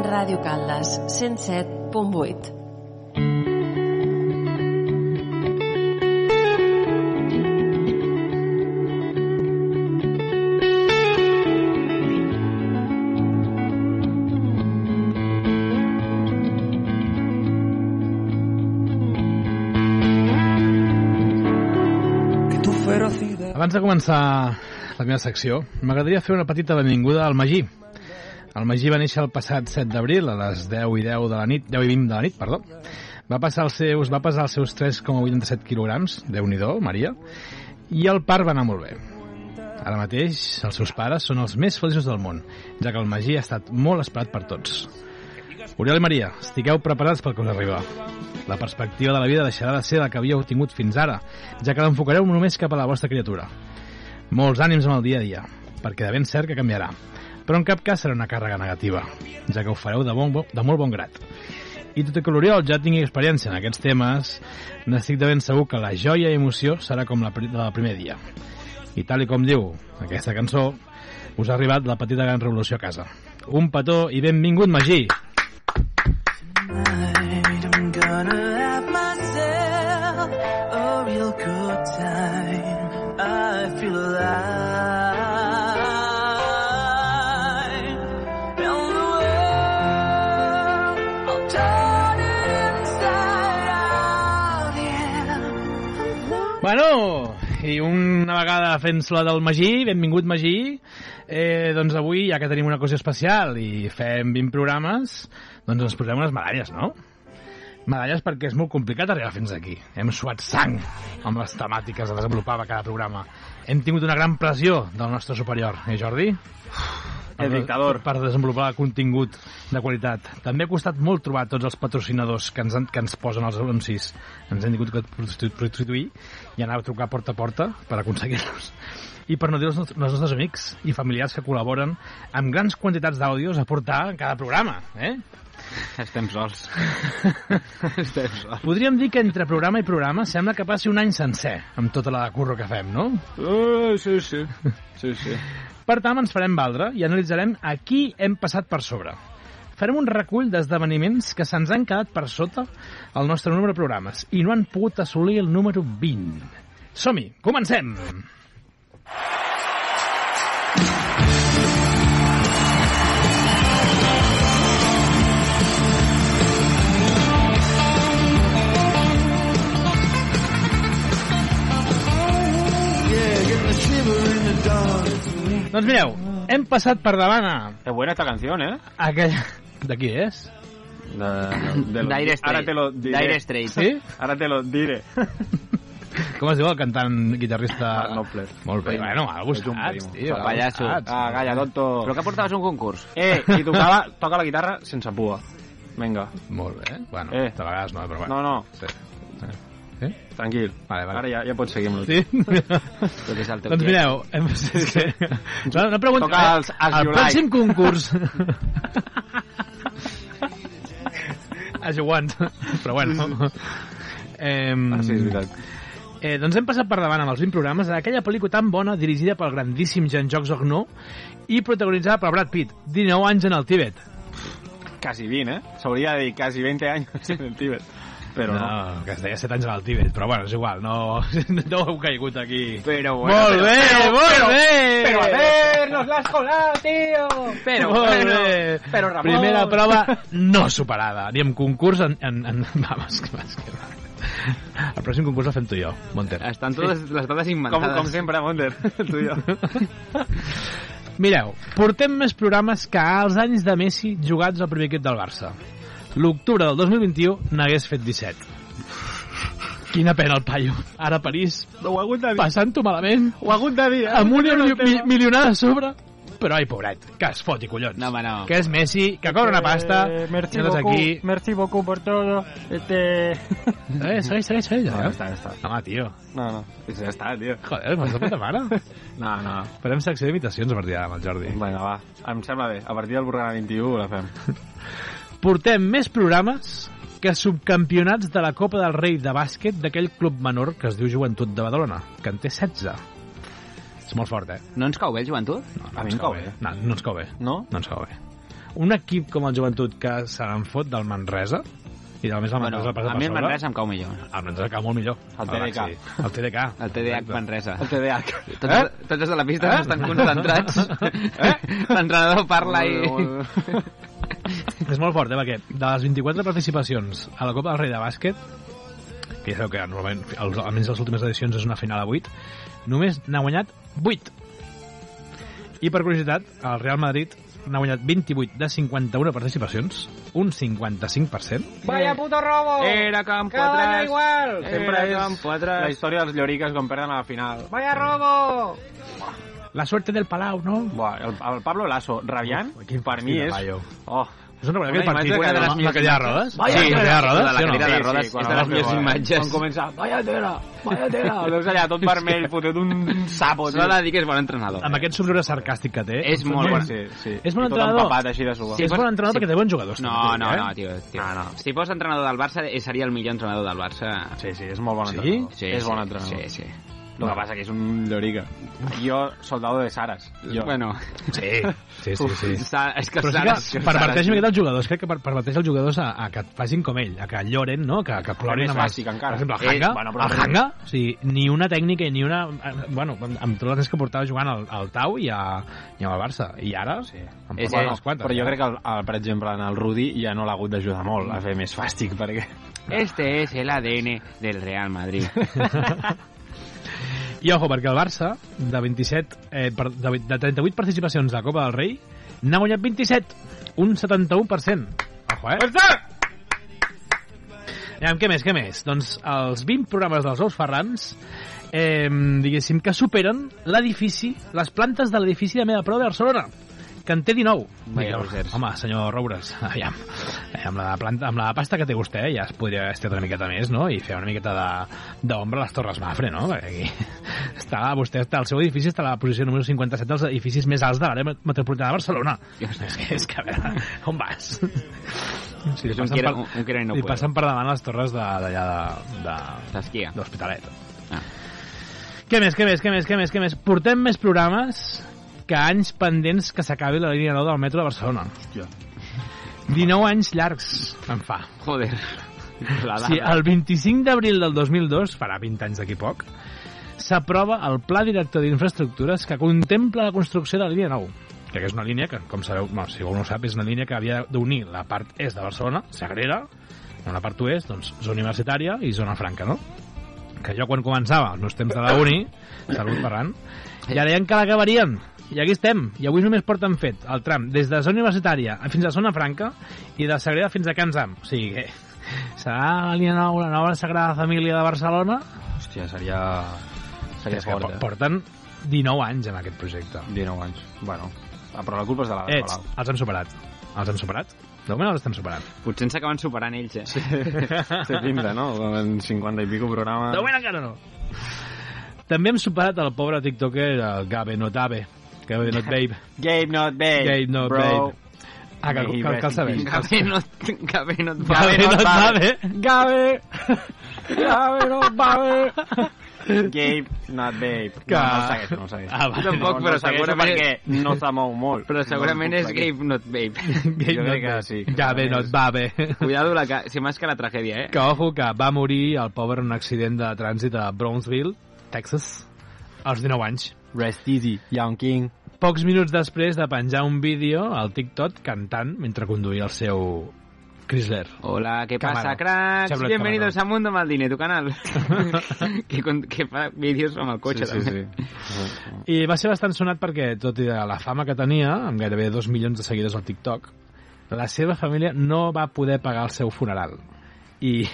Speaker 11: Ràdio Caldes, 107.8.
Speaker 5: Que tu ferocidad.
Speaker 3: Abans de començar la meva secció, m'agradaria fer una petita benvinguda al Magí. El Magí va néixer el passat 7 d'abril a les 10 i 10 de la nit, 10 i 20 de la nit, perdó. Va passar els seus, va pesar els seus 3,87 quilograms, déu nhi Maria, i el part va anar molt bé. Ara mateix, els seus pares són els més feliços del món, ja que el Magí ha estat molt esperat per tots. Oriol i Maria, estigueu preparats pel que us arriba. La perspectiva de la vida deixarà de ser la que havíeu tingut fins ara, ja que l'enfocareu només cap a la vostra criatura. Molts ànims amb el dia a dia, perquè de ben cert que canviarà. Però en cap cas serà una càrrega negativa, ja que ho fareu de, bon, de molt bon grat. I tot i que l'Oriol ja tingui experiència en aquests temes, n'estic de ben segur que la joia i emoció serà com la, pri- la del primer dia. I tal i com diu aquesta cançó, us ha arribat la petita gran revolució a casa. Un petó i benvingut, Magí!
Speaker 9: I'm gonna have myself a real good time. I feel alive. Tell the world I'll turn inside out. Yeah.
Speaker 3: Bueno, i una vegada fent la del Magí, benvingut Magí, eh, doncs avui, ja que tenim una cosa especial i fem 20 programes, doncs ens posem unes medalles, no? Medalles perquè és molt complicat arribar fins aquí. Hem suat sang amb les temàtiques que desenvolupava cada programa. Hem tingut una gran pressió del nostre superior, eh, Jordi?
Speaker 4: El dictador.
Speaker 3: Per desenvolupar contingut de qualitat. També ha costat molt trobar tots els patrocinadors que ens, han, que ens posen els anuncis. Ens hem tingut que prostitu- prostituir i anar a trucar porta a porta per aconseguir-los. I per no dir els, nos- els nostres amics i familiars que col·laboren amb grans quantitats d'àudios a portar en cada programa. Eh?
Speaker 4: Estem sols. Estem sols.
Speaker 3: Podríem dir que entre programa i programa sembla que passi un any sencer amb tota la curro que fem, no?
Speaker 4: Uh, sí, sí. Sí, sí.
Speaker 3: Per tant, ens farem valdre i analitzarem a qui hem passat per sobre. Farem un recull d'esdeveniments que se'ns han quedat per sota el nostre número de programes i no han pogut assolir el número 20. Som-hi, comencem! Doncs mireu, Hem passat per davant a...
Speaker 4: Es buena esta canción, ¿eh?
Speaker 3: Aquella... De qui és?
Speaker 4: De lo-
Speaker 3: Dire
Speaker 4: Ahora
Speaker 3: Straits.
Speaker 4: te lo diré.
Speaker 3: Dire Straits. Sí?
Speaker 4: Ahora te lo diré.
Speaker 3: Com es diu el cantant guitarrista?
Speaker 4: Knopfler.
Speaker 3: Molt bé. Bueno, algú
Speaker 4: Ets Pues un
Speaker 3: saps,
Speaker 4: primo.
Speaker 3: tio. algú
Speaker 4: Pallasso.
Speaker 3: saps.
Speaker 4: Ah, galla, tonto.
Speaker 1: Però que portaves un concurs.
Speaker 4: Eh, i tocava, toca la guitarra sense pua. Vinga.
Speaker 3: Molt bé. Bueno,
Speaker 4: Eh.
Speaker 3: de vegades no, però bueno.
Speaker 4: No, no.
Speaker 3: Sí.
Speaker 4: Eh? Tranquil.
Speaker 3: Vale, vale.
Speaker 4: Ara ja, ja pots seguir amb
Speaker 3: Sí?
Speaker 4: que és el teu
Speaker 3: doncs
Speaker 4: tiet.
Speaker 3: mireu, hem... sí, sí. No, no pregunto...
Speaker 4: Toca els- els
Speaker 3: el
Speaker 4: you
Speaker 3: pròxim
Speaker 4: like.
Speaker 3: concurs... As you want. Però bueno. Eh, ah,
Speaker 4: sí, és veritat.
Speaker 3: Eh, doncs hem passat per davant amb els 20 programes d'aquella pel·lícula tan bona dirigida pel grandíssim Jean-Jacques Ogno i protagonitzada per Brad Pitt, 19 anys en el Tíbet.
Speaker 4: Casi 20, ¿eh? S'hauria de dir casi 20 anys en el Tíbet. Però no.
Speaker 3: no, que es deia 7 anys en el Tíbet, però bueno, és igual, no, no heu caigut aquí.
Speaker 4: Però
Speaker 3: bueno, molt
Speaker 4: però-
Speaker 3: bé,
Speaker 4: però-
Speaker 3: molt
Speaker 4: però-
Speaker 3: bé!
Speaker 4: Pero a ver, nos la has colado, tío.
Speaker 1: Pero
Speaker 3: Molt
Speaker 4: bueno,
Speaker 3: bé.
Speaker 4: pero Ramón.
Speaker 3: Primera prova no superada, ni amb concurs en... en, en vamos, que vas, que vas. El pròxim concurs el fem tu i jo, Monter.
Speaker 1: Estan totes les dades
Speaker 4: Com,
Speaker 1: inventades.
Speaker 4: com sempre, Monder, tu i jo.
Speaker 1: Eh.
Speaker 3: Mireu, portem més programes que els anys de Messi jugats al primer equip del Barça. L'octubre del 2021 n'hagués fet 17. Quina pena el paio. Ara a París,
Speaker 4: Ho ha hagut de dir.
Speaker 3: passant-ho malament,
Speaker 4: Ho ha hagut de dir. eh?
Speaker 3: amb una
Speaker 4: No, no,
Speaker 3: mi mi-
Speaker 4: no.
Speaker 3: milionada a sobre. Però, ai, pobret, que es foti, collons.
Speaker 1: No, home, no.
Speaker 3: Que és Messi, que cobra una pasta,
Speaker 4: Eh,
Speaker 3: eh,
Speaker 4: merci
Speaker 3: nosaltres
Speaker 4: beaucoup,
Speaker 3: aquí...
Speaker 4: merci beaucoup por todo. Este...
Speaker 3: Eh, segueix, segueix, segueix.
Speaker 4: No,
Speaker 3: Ja.
Speaker 4: ja està, ja està.
Speaker 3: Home, tio,
Speaker 4: No, no, Pues ja està, tio.
Speaker 3: joder, m'has de puta mare.
Speaker 4: No, no.
Speaker 3: Farem secció d'imitacions a partir d'ara amb el Jordi.
Speaker 4: Vinga, va. Em sembla bé. A partir del Burgana 21 la fem.
Speaker 3: Portem més programes que subcampionats de la Copa del Rei de bàsquet d'aquell club menor que es diu Joventut de Badalona, que en té 16. És molt fort, eh?
Speaker 1: No ens cau bé el joventut?
Speaker 3: No,
Speaker 4: A mi
Speaker 3: ens
Speaker 4: em cau bé.
Speaker 3: No, no ens cau bé.
Speaker 4: No?
Speaker 3: No ens cau bé. Un equip com el Joventut que se n'en fot del Manresa, i a més el
Speaker 1: Bueno,
Speaker 3: Manresa passa
Speaker 1: a
Speaker 3: per
Speaker 1: mi el
Speaker 3: sobre...
Speaker 1: Manresa em cau millor.
Speaker 3: El Manresa cau molt millor.
Speaker 4: El TDK.
Speaker 3: Baxi. El TDK.
Speaker 1: El TDH Manresa.
Speaker 4: El TDAH.
Speaker 1: Tots, eh? tots els de la pista eh? estan concentrats. Eh? L'entrenador parla i...
Speaker 3: És molt fort, eh, perquè de les 24 participacions a la Copa del Rei de Bàsquet, que ja sabeu que normalment, els, almenys les últimes edicions, és una final a 8, només n'ha guanyat 8. I per curiositat, el Real Madrid n'ha guanyat 28 de 51 participacions, un 55%,
Speaker 4: Vaya puto robo.
Speaker 1: Era campo
Speaker 4: Cada
Speaker 1: atrás.
Speaker 4: año igual.
Speaker 1: Sempre
Speaker 4: Era
Speaker 1: és
Speaker 4: campo La
Speaker 1: atrás.
Speaker 4: història dels lloriques quan perden a la final. Vaya robo.
Speaker 3: la suerte del Palau, no?
Speaker 4: Buah, el, el Pablo Lasso, rabiant,
Speaker 3: Uf, quin
Speaker 4: per mi
Speaker 3: fastid de
Speaker 4: és...
Speaker 3: paio.
Speaker 4: Oh,
Speaker 3: És una
Speaker 4: Una
Speaker 3: vergonya aquest
Speaker 4: imatge
Speaker 3: partit.
Speaker 4: que de les
Speaker 3: La, la cadira de rodes?
Speaker 4: Vaya
Speaker 3: sí, la cadira de rodes,
Speaker 1: la
Speaker 3: sí o no?
Speaker 1: cadira de rodes
Speaker 4: quan
Speaker 1: és de les
Speaker 4: va
Speaker 1: millors
Speaker 4: fer,
Speaker 1: imatges.
Speaker 4: Quan comença, vaya tela, vaya tela, el veus allà tot vermell, fotut un sapo.
Speaker 1: S'ha de dir que és bon entrenador.
Speaker 3: Amb aquest somriure sarcàstic que té.
Speaker 1: És molt bon.
Speaker 4: Sí, sí.
Speaker 3: És bon
Speaker 4: I tot
Speaker 3: entrenador.
Speaker 4: empapat així de suar.
Speaker 3: Sí, és
Speaker 1: fos-
Speaker 3: bon entrenador
Speaker 1: sí.
Speaker 3: perquè té bons jugadors.
Speaker 1: No,
Speaker 3: també,
Speaker 1: no,
Speaker 3: eh?
Speaker 1: no, tio. tio.
Speaker 4: No, no.
Speaker 1: Si fos entrenador del Barça, eh, seria el millor entrenador del Barça.
Speaker 4: Sí, sí, és molt bon
Speaker 3: Sí?
Speaker 4: entrenador.
Speaker 1: Sí,
Speaker 4: és
Speaker 1: sí,
Speaker 4: bon entrenador.
Speaker 1: Sí, sí.
Speaker 4: El que passa que és un llorica. Jo, soldado de Saras. Jo.
Speaker 1: Bueno,
Speaker 3: Sí, sí, sí. sí.
Speaker 1: Sa- és que
Speaker 3: Però sí
Speaker 1: Sara...
Speaker 3: que perverteix una miqueta els jugadors, crec que per- perverteix els jugadors a, a que et facin com ell, a que lloren, no? que, que plorin
Speaker 4: més
Speaker 3: amb els-
Speaker 4: bàsic, encara.
Speaker 3: Per exemple,
Speaker 4: Eh,
Speaker 3: el Hanga,
Speaker 4: bueno, però-
Speaker 3: el Hanga o sigui, ni una tècnica i ni una... eh, Bueno, amb, amb tots els nens que portava jugant al, al Tau i, a, i amb el Barça. I ara, sí. en
Speaker 1: És-
Speaker 3: porta
Speaker 1: és-
Speaker 3: unes quantes.
Speaker 4: Però jo
Speaker 3: eh?
Speaker 4: crec que, el, el, per exemple, en el Rudi ja no l'ha hagut d'ajudar molt a fer més fàstic, perquè...
Speaker 1: Este es el ADN del Real Madrid.
Speaker 3: I ojo, perquè el Barça, de 27, eh, per, de, vi- de 38 participacions de Copa del Rei, n'ha guanyat 27, un 71%. Ojo, eh? Aviam, què més, què més? Doncs els 20 programes dels Ous Ferrans, eh, diguéssim, que superen l'edifici, les plantes de l'edifici de Meda Pro de Barcelona, que en té 19.
Speaker 1: Vaja
Speaker 3: Digueu,
Speaker 1: losers.
Speaker 3: home, senyor Roures, aviam, eh, amb la, planta, amb la pasta que té vostè ja es podria estirar una miqueta més, no?, i fer una miqueta de- d'ombra a les Torres Mafre, no?, perquè aquí està, vostè està, el seu edifici està a la posició número 57 dels edificis més alts de l'àrea metropolitana de Barcelona. És que, és que, a veure, on vas? Sí,
Speaker 1: És un quiero- un- un quiero y no
Speaker 3: li
Speaker 1: puedo.
Speaker 3: passen per davant les torres de- d'allà de, de,
Speaker 1: Tasquia.
Speaker 3: d'Hospitalet.
Speaker 1: Ah.
Speaker 3: Què més, què més, què més, què més, què més? Portem més programes que anys pendents que s'acabi la línia 9 del metro de Barcelona. Hòstia. 19 anys llargs en fa.
Speaker 1: Joder. La
Speaker 3: Sí,
Speaker 1: dada.
Speaker 3: el 25 d'abril del 2002, farà 20 anys d'aquí poc, s'aprova el Pla Director d'Infraestructures que contempla la construcció de la línia 9 que és una línia que, com sabeu, no, si algú no ho sap, és una línia que havia d'unir la part est de Barcelona, Sagrera, amb la part oest, doncs, zona universitària i zona franca, no? que jo quan començava els meus temps de la uni, salut Ferran, ja deien que l'acabarien. I aquí estem. I avui només porten fet el tram des de zona universitària fins a zona franca i de Sagrada fins a Can Zam. O sigui que serà la línia nou, la nova Sagrada Família de Barcelona.
Speaker 4: Hòstia, seria... Seria
Speaker 3: És que
Speaker 4: fort,
Speaker 3: po-
Speaker 4: eh?
Speaker 3: porten 19 anys en aquest projecte.
Speaker 4: 19 anys. Bueno, ah, però la culpa és de la de
Speaker 3: Ets,
Speaker 4: Palau.
Speaker 3: els hem superat. Els hem superat? De moment els estem superant.
Speaker 1: Potser ens acaben superant ells, eh? Sí.
Speaker 4: Té pinta, no? En 50 i pico programa...
Speaker 3: De moment encara no. També hem superat el pobre tiktoker, el Gabe Notabe. Gabe Not Babe.
Speaker 4: Gabe Not Babe,
Speaker 3: Gabe Not
Speaker 4: bro.
Speaker 3: Babe. Ah, cal,
Speaker 4: May he
Speaker 3: cal,
Speaker 4: rest
Speaker 3: cal
Speaker 4: in
Speaker 3: saber.
Speaker 4: peace.
Speaker 1: Gabe no, Gabe no et va bé, no
Speaker 3: Gabe Not
Speaker 1: et va bé.
Speaker 3: Babe. Gabe! Gabe Not Babe!
Speaker 4: Gabe, not babe.
Speaker 1: Que-
Speaker 4: No, no el segueixo, no el segueixo.
Speaker 1: Ah, va. Tampoc,
Speaker 4: no,
Speaker 1: però
Speaker 4: el segueixo
Speaker 1: segurament-
Speaker 4: Perquè no s'ha mou molt.
Speaker 1: Però segurament
Speaker 4: No
Speaker 1: és
Speaker 4: puc seguir.
Speaker 1: Gabe Not Babe.
Speaker 3: Gabe
Speaker 4: Jo crec
Speaker 3: Not
Speaker 4: que
Speaker 3: Babe.
Speaker 4: sí.
Speaker 3: Gabe Not Babe.
Speaker 1: Cuidado, la ca... si més que la tragèdia, eh?
Speaker 3: Que ojo que va morir el pobre en un accident de trànsit a Brownsville, Texas, als 19 anys.
Speaker 4: Rest easy, Young King.
Speaker 3: Pocs minuts després de penjar un vídeo al TikTok cantant mentre conduïa el seu Chrysler.
Speaker 1: Hola, ¿qué
Speaker 3: Camaro.
Speaker 1: pasa, cracks?
Speaker 3: Chevrolet
Speaker 1: Bienvenidos a Mundo Maldini, tu canal. que, con... que fa vídeos amb el cotxe,
Speaker 4: sí, sí,
Speaker 1: també.
Speaker 4: sí.
Speaker 3: I va ser bastant sonat perquè, tot i la fama que tenia, amb gairebé dos milions de seguidors al TikTok, la seva família no va poder pagar el seu funeral i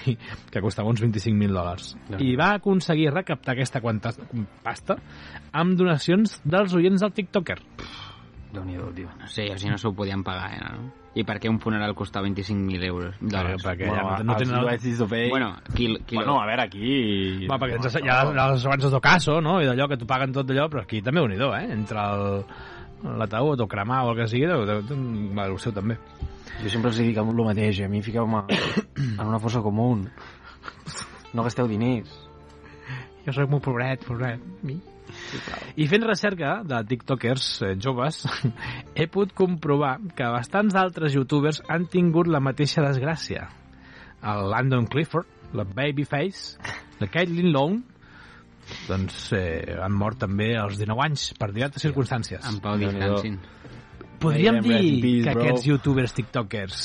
Speaker 3: que costava uns 25.000 dòlars.
Speaker 4: Ja.
Speaker 3: I va aconseguir recaptar aquesta quanta pasta amb donacions dels oients del TikToker.
Speaker 4: Déu-n'hi-do, tio.
Speaker 1: No sé, o sigui, no s'ho podien pagar, eh? No? I per què un funeral costava 25.000 euros? Dòlars.
Speaker 3: perquè
Speaker 4: Bueno,
Speaker 3: ja no, no
Speaker 4: els
Speaker 3: tenen...
Speaker 4: US is obey.
Speaker 1: Bueno, qui, qui
Speaker 4: Bueno, a veure, aquí...
Speaker 3: Va, perquè ens, hi ha les- les assegurances d'Ocaso, no? I d'allò que t'ho paguen tot d'allò, però aquí també un idó, eh? Entre el l'ataúd o cremar o el que sigui, deu- deu- deu- va, el seu també.
Speaker 4: Jo sempre els dic el mateix, eh? a mi fiqueu-me en una fossa comú. No gasteu diners.
Speaker 3: Jo sóc molt pobret, pobret. Mi? I fent recerca de tiktokers eh, joves, he pogut comprovar que bastants altres youtubers han tingut la mateixa desgràcia. El Landon Clifford, la Babyface, la Caitlyn Lone, doncs eh, han mort també als 19 anys per diverses circumstàncies.
Speaker 1: En Pau
Speaker 4: Déu-n'hi-do.
Speaker 1: Distancin.
Speaker 3: Podríem
Speaker 4: Rest in
Speaker 3: dir
Speaker 4: peace,
Speaker 3: que
Speaker 4: bro.
Speaker 3: aquests youtubers tiktokers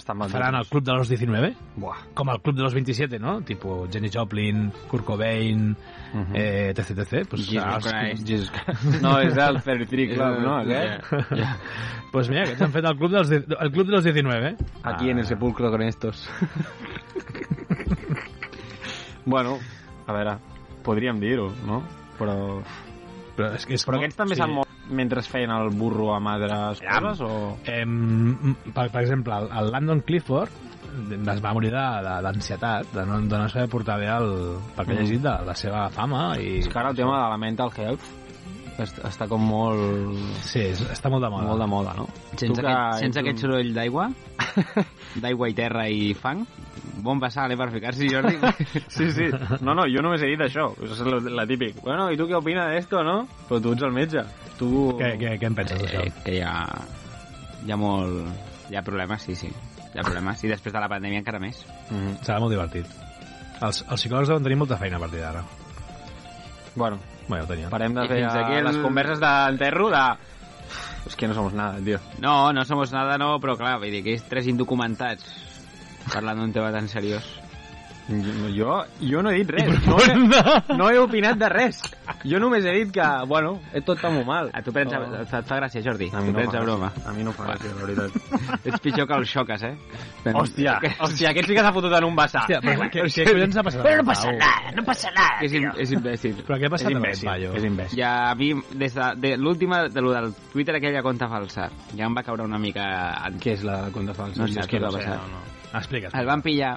Speaker 4: Estan mal
Speaker 3: faran el club de los 19?
Speaker 4: Buah.
Speaker 3: Com el club de los 27, no? Tipo Jenny Joplin, Kurt Cobain,
Speaker 4: Mhm.
Speaker 3: eh, etc, etc. Pues,
Speaker 1: Jesus
Speaker 3: els-
Speaker 1: Christ.
Speaker 3: Jesus-
Speaker 4: No, és el
Speaker 3: Eh,
Speaker 4: 33 Club, no? Aquest?
Speaker 1: Ja.
Speaker 3: pues mira, aquests han fet el club, dels, di- el club de los 19, eh?
Speaker 4: Aquí en el sepulcro con estos. bueno, a veure, podríem dir-ho, no? Però,
Speaker 3: Però, és que és
Speaker 4: però
Speaker 3: com-
Speaker 4: aquests també
Speaker 3: sí.
Speaker 4: s'han mort mentre feien el burro amb altres
Speaker 3: Aviam.
Speaker 4: coses o...
Speaker 3: Em, per, per exemple, el, el Landon Clifford es va morir de- de- d'ansietat, de, de, no, de no saber portar bé el, pel que ha
Speaker 4: Mm.
Speaker 3: llegit de la seva fama. I...
Speaker 4: És que ara el tema de la mental health est- està com molt,
Speaker 3: Sí, és, està molt de moda.
Speaker 4: molt de moda, no? Tu
Speaker 1: Sense,
Speaker 4: que
Speaker 1: aquest,
Speaker 4: ets
Speaker 1: sense
Speaker 4: un-
Speaker 1: aquest soroll d'aigua, d'aigua i terra i fang, bon passar, eh, per ficar-s'hi, Jordi.
Speaker 4: Sí, sí. No, no, jo només he dit això. És la, la típic. Bueno, i tu què opina d'esto, no? Però tu ets el metge. Tu...
Speaker 3: Què, què, què en penses d'això?
Speaker 1: Eh, que hi ha, hi ha molt... Hi ha problemes, sí, sí. Hi ha problemes. I després de la pandèmia encara més.
Speaker 4: Mm
Speaker 3: Serà molt divertit. Els, els psicòlegs deuen tenir molta feina a partir d'ara.
Speaker 4: Bueno,
Speaker 3: Bé, ja ho tenia.
Speaker 4: parem de
Speaker 1: I
Speaker 4: fer
Speaker 1: fins aquí
Speaker 4: aquí
Speaker 1: el-
Speaker 4: les converses d'enterro de... És que no somos nada, tio.
Speaker 1: No, no somos nada, no, però clar, vull dir que és tres indocumentats parlant d'un tema tan seriós.
Speaker 4: Jo, jo no he dit res. No he, no he opinat de res. Jo només he dit que, bueno, eh, tot està molt mal.
Speaker 1: A tu prens,
Speaker 4: Oh.
Speaker 1: a, et fa gràcia, Jordi.
Speaker 4: A
Speaker 1: A tu
Speaker 4: mi no
Speaker 1: prens
Speaker 4: fa
Speaker 1: a broma.
Speaker 4: gràcia. A mi no fa gràcia, la veritat.
Speaker 1: Ets pitjor que el xoques, eh?
Speaker 4: Hòstia, hòstia, aquest sí que s'ha fotut en un vessar.
Speaker 3: Hòstia, però què, què collons ha passat? Però no passa res.
Speaker 1: Que és, im- és imbècil.
Speaker 3: Però què ha passat
Speaker 4: és
Speaker 3: amb aquest
Speaker 4: imbècil,
Speaker 3: paio?
Speaker 4: és imbècil.
Speaker 1: Ja a mi, des de, de l'última, de lo del Twitter, aquella conta falsa, ja em va caure una mica... En...
Speaker 4: Què és la conta falsa?
Speaker 1: No sé
Speaker 4: Jo és
Speaker 1: què
Speaker 4: que
Speaker 1: va
Speaker 4: no sé,
Speaker 1: passar.
Speaker 4: no, no.
Speaker 3: Explica't.
Speaker 1: El van pillar...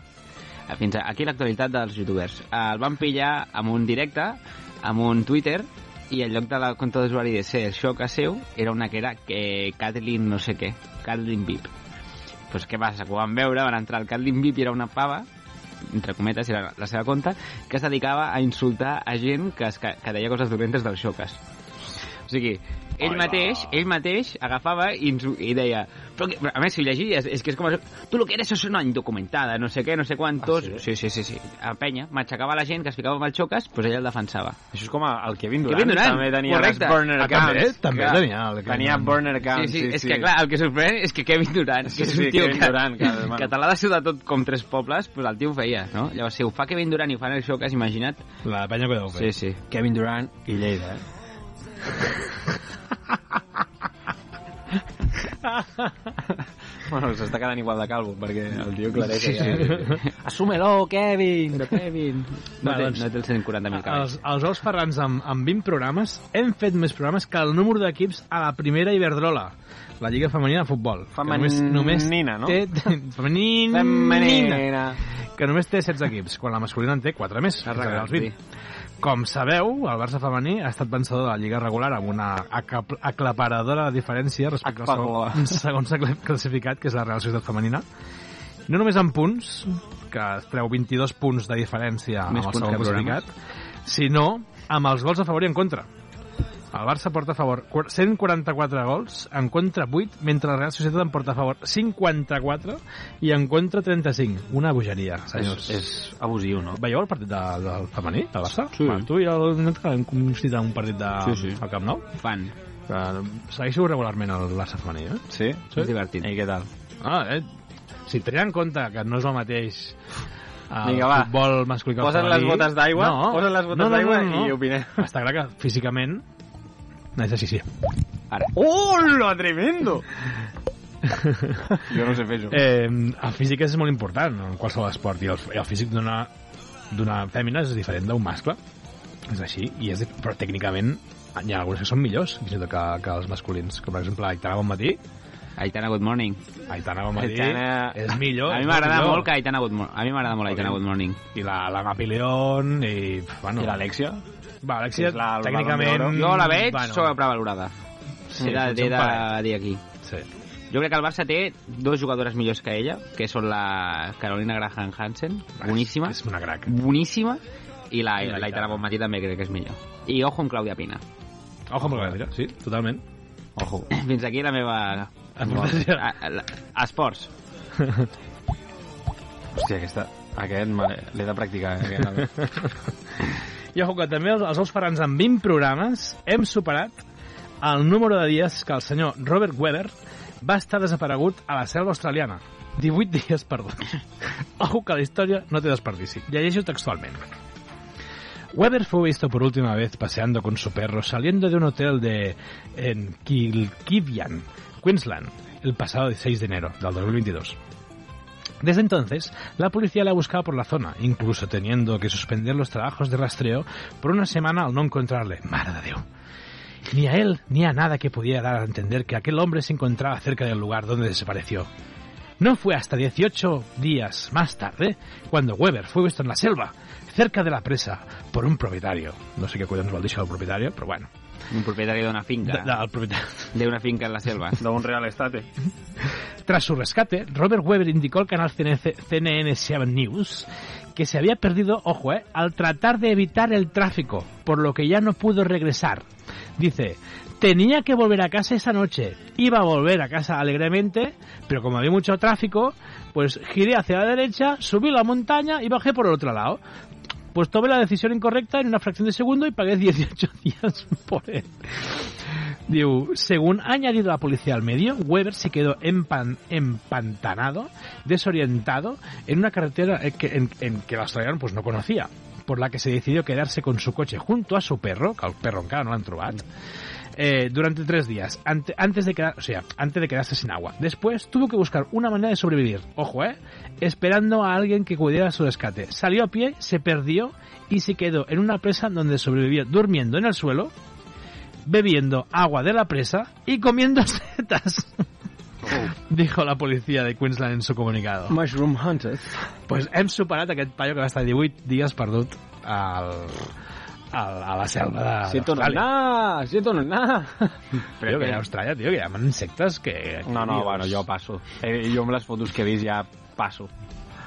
Speaker 1: eh, Fins a- aquí l'actualitat dels youtubers. Eh, El van pillar amb un directe, amb un Twitter, i en lloc de la compte d'usuari de ser el xoc a seu, era una que era que Kathleen no sé què, Kathleen Vip. Pues què passa? Que ho van veure, van entrar al Kathleen Vip i era una pava, entre cometes, era la seva conta, que es dedicava a insultar a gent que, es, que, que deia coses dolentes dels xoques. sigui,
Speaker 12: Ai,
Speaker 1: ell
Speaker 12: va.
Speaker 1: mateix, ell mateix agafava i, ens, ho- i deia... Però que, a més, si ho llegies, és que és com... Tu lo que eres és una indocumentada, no sé què, no sé quantos... Ah, sí? sí, sí, sí, A penya, matxacava la gent que es ficava amb el xoques, doncs ell el defensava.
Speaker 4: Això és com el Kevin
Speaker 1: Kevin Durant,
Speaker 4: també tenia
Speaker 1: correcte.
Speaker 4: les burner
Speaker 1: Ah,
Speaker 4: accounts.
Speaker 1: també, també
Speaker 4: Clar,
Speaker 1: tenia el Kevin
Speaker 4: Tenia
Speaker 1: Durant.
Speaker 4: burner accounts,
Speaker 1: sí,
Speaker 4: Ah, sí,
Speaker 1: és que clar, el que sorprèn és que Kevin Durant, que és
Speaker 4: Sí,
Speaker 1: un
Speaker 4: sí,
Speaker 1: tio
Speaker 4: Kevin
Speaker 1: que,
Speaker 4: Durant, que, bueno.
Speaker 1: que te l'ha de tot com tres pobles, doncs el tio ho feia, no? Llavors, si ho fa Kevin Durant i ho fan el xoques, imagina't...
Speaker 3: La penya que deu
Speaker 1: fer. Sí, sí.
Speaker 4: Kevin Durant i Lleida, eh? Bueno, s'està quedant igual de calvo, perquè el tio clareix
Speaker 3: Sí,
Speaker 4: sí,
Speaker 3: sí,
Speaker 4: sí, sí. Assume-lo, Kevin! De Kevin!
Speaker 1: No,
Speaker 3: Va,
Speaker 1: té,
Speaker 3: doncs,
Speaker 1: no té els 140.000
Speaker 3: Els,
Speaker 1: cabells.
Speaker 3: els Ous Ferrans amb, amb 20 programes hem fet més programes que el número d'equips a la primera Iberdrola, la Lliga Femenina de Futbol. que només,
Speaker 4: Femenina,
Speaker 3: només
Speaker 4: no?
Speaker 3: Té, femenina,
Speaker 4: Femenina.
Speaker 3: Que només té 16 equips, quan la masculina en té 4 més. fins arribar als 20. Com sabeu, el Barça femení ha estat vencedor de la Lliga regular amb una acap- aclaparadora diferència respecte
Speaker 4: Aclaparadora.
Speaker 3: al segon, segon classificat, que és la Real Societat Femenina. No només en punts, que es treu 22 punts de diferència
Speaker 1: Més
Speaker 3: amb el
Speaker 1: punts
Speaker 3: segon
Speaker 1: que programes.
Speaker 3: classificat, sinó amb els gols a favor i en contra. El Barça porta a favor quar- 144 gols, en contra 8, mentre la Real Societat en porta a favor 54 i en contra 35. Una bogeria, senyors.
Speaker 4: És, és abusiu, no?
Speaker 3: Veieu el partit de, del femení, del Barça?
Speaker 4: Sí.
Speaker 3: Va, tu i el nen que hem coincidit en un partit de,
Speaker 4: Sí, sí.
Speaker 3: al Camp Nou?
Speaker 1: Fan.
Speaker 3: Uh, segueixo regularment el Barça femení, eh?
Speaker 4: Sí?
Speaker 1: És divertit.
Speaker 4: I què tal?
Speaker 3: Ah, eh? Si tenint en compte que no és el mateix el
Speaker 4: Vinga, va.
Speaker 3: futbol masculí que el
Speaker 4: Posa't
Speaker 3: femení...
Speaker 4: les botes d'aigua,
Speaker 3: no.
Speaker 4: posa't les botes
Speaker 3: no, no,
Speaker 4: d'aigua
Speaker 3: no, no,
Speaker 4: i opinem.
Speaker 3: Està clar que físicament no és així, sí.
Speaker 1: Ara.
Speaker 4: Hola, tremendo! jo no sé fer això.
Speaker 3: Eh, el físic és molt important en qualsevol esport i el, i el físic d'una d'una fèmina és diferent d'un mascle és així, i és, però tècnicament hi ha alguns que són millors fins i tot que, que els masculins, com per exemple Aitana Bonmatí
Speaker 1: Aitana Good Morning
Speaker 3: Aitana Bonmatí
Speaker 1: Aitana-
Speaker 3: és millor
Speaker 1: A mi
Speaker 3: és
Speaker 1: m'agrada
Speaker 3: millor.
Speaker 1: molt que Aitana Good Morning. A mi m'agrada molt Aitana Good Morning.
Speaker 3: i la, la Mapi León i, bueno,
Speaker 1: I l'Alexia?
Speaker 3: va,
Speaker 1: Que
Speaker 3: l'Alexia
Speaker 1: és la- el
Speaker 3: tècnicament
Speaker 1: Ballon d'Oro. Jo la veig bueno. sobrevalorada. Sí, he de,
Speaker 3: potser
Speaker 1: he
Speaker 3: un
Speaker 1: de
Speaker 3: parell.
Speaker 1: dir aquí.
Speaker 3: Sí.
Speaker 1: Jo crec que el Barça té dos jugadores millors que ella, que són la Carolina Graham Hansen, boníssima. És
Speaker 3: una crac.
Speaker 1: Boníssima. I la,
Speaker 3: I la
Speaker 1: la Itana Bonmatí també crec que és millor. I ojo amb Claudia Pina.
Speaker 3: Ojo amb la Gràcia, sí, totalment.
Speaker 1: Ojo. Fins aquí la meva...
Speaker 3: Aportació.
Speaker 1: A- a- la- Esports.
Speaker 4: Hòstia, aquesta, aquest me- l'he de practicar. Eh? aquest.
Speaker 3: I ojo que també els, els ous ferrans amb 20 programes hem superat el número de dies que el senyor Robert Weber va estar desaparegut a la selva australiana. 18 dies perduts. Ojo que la història no té desperdici. Llegeixo textualment. Weber fue visto por última vez paseando con su perro saliendo de un hotel de en Kilkivian, Queensland, el pasado 16 de enero del 2022. Desde entonces, la policía la ha buscado por la zona, incluso teniendo que suspender los trabajos de rastreo por una semana al no encontrarle. Mare de Déu. Ni a él ni a nada que pudiera dar a entender que aquel hombre se encontraba cerca del lugar donde desapareció. No fue hasta 18 días más tarde cuando Weber fue visto en la selva, cerca de la presa, por un propietario. No sé qué collons vol dir això del propietario, però bueno.
Speaker 1: Un propietari d'una finca.
Speaker 3: De- del propietari.
Speaker 1: D'una finca en la selva.
Speaker 4: D'un real estate.
Speaker 3: Tras su rescate, Robert Weber indicó al canal CNC CNN7 News que se había perdido, ojo, eh, al tratar de evitar el tráfico, por lo que ya no pudo regresar. Dice, tenía que volver a casa esa noche. Iba a volver a casa alegremente, pero como había mucho tráfico, pues giré hacia la derecha, subí la montaña y bajé por el otro lado. Pues tomé la decisión incorrecta en una fracción de segundo y pagué 18 días por él. Diu, según ha añadido la policía al medio, Weber se quedó empan- empantanado, desorientado, en una carretera eh, que, en, en que el australiano pues, no conocía, por la que se decidió quedarse con su coche junto a su perro, que al perro encara no l'han trobat, eh, durante tres días, ante- antes, de quedar, o sea, antes de quedarse sin agua. Después tuvo que buscar una manera de sobrevivir, ojo, eh, esperando a alguien que cuidara su rescate. Salió a pie, se perdió y se quedó en una presa donde sobrevivió durmiendo en el suelo, bebiendo agua de la presa y comiendo setas. Dijo la policía de Queensland en su comunicado.
Speaker 4: Mushroom Hunted.
Speaker 3: Pues hem superat aquest paio que va estar 18 dies perdut al, al, a la selva de
Speaker 4: Siento no
Speaker 3: d'Austràlia.
Speaker 4: anar, siento no anar.
Speaker 3: Tio, que hi ha Austràlia, tio, que hi ha insectes que...
Speaker 4: No, no, bueno, jo passo. Eh, jo amb les fotos que he vist ja passo.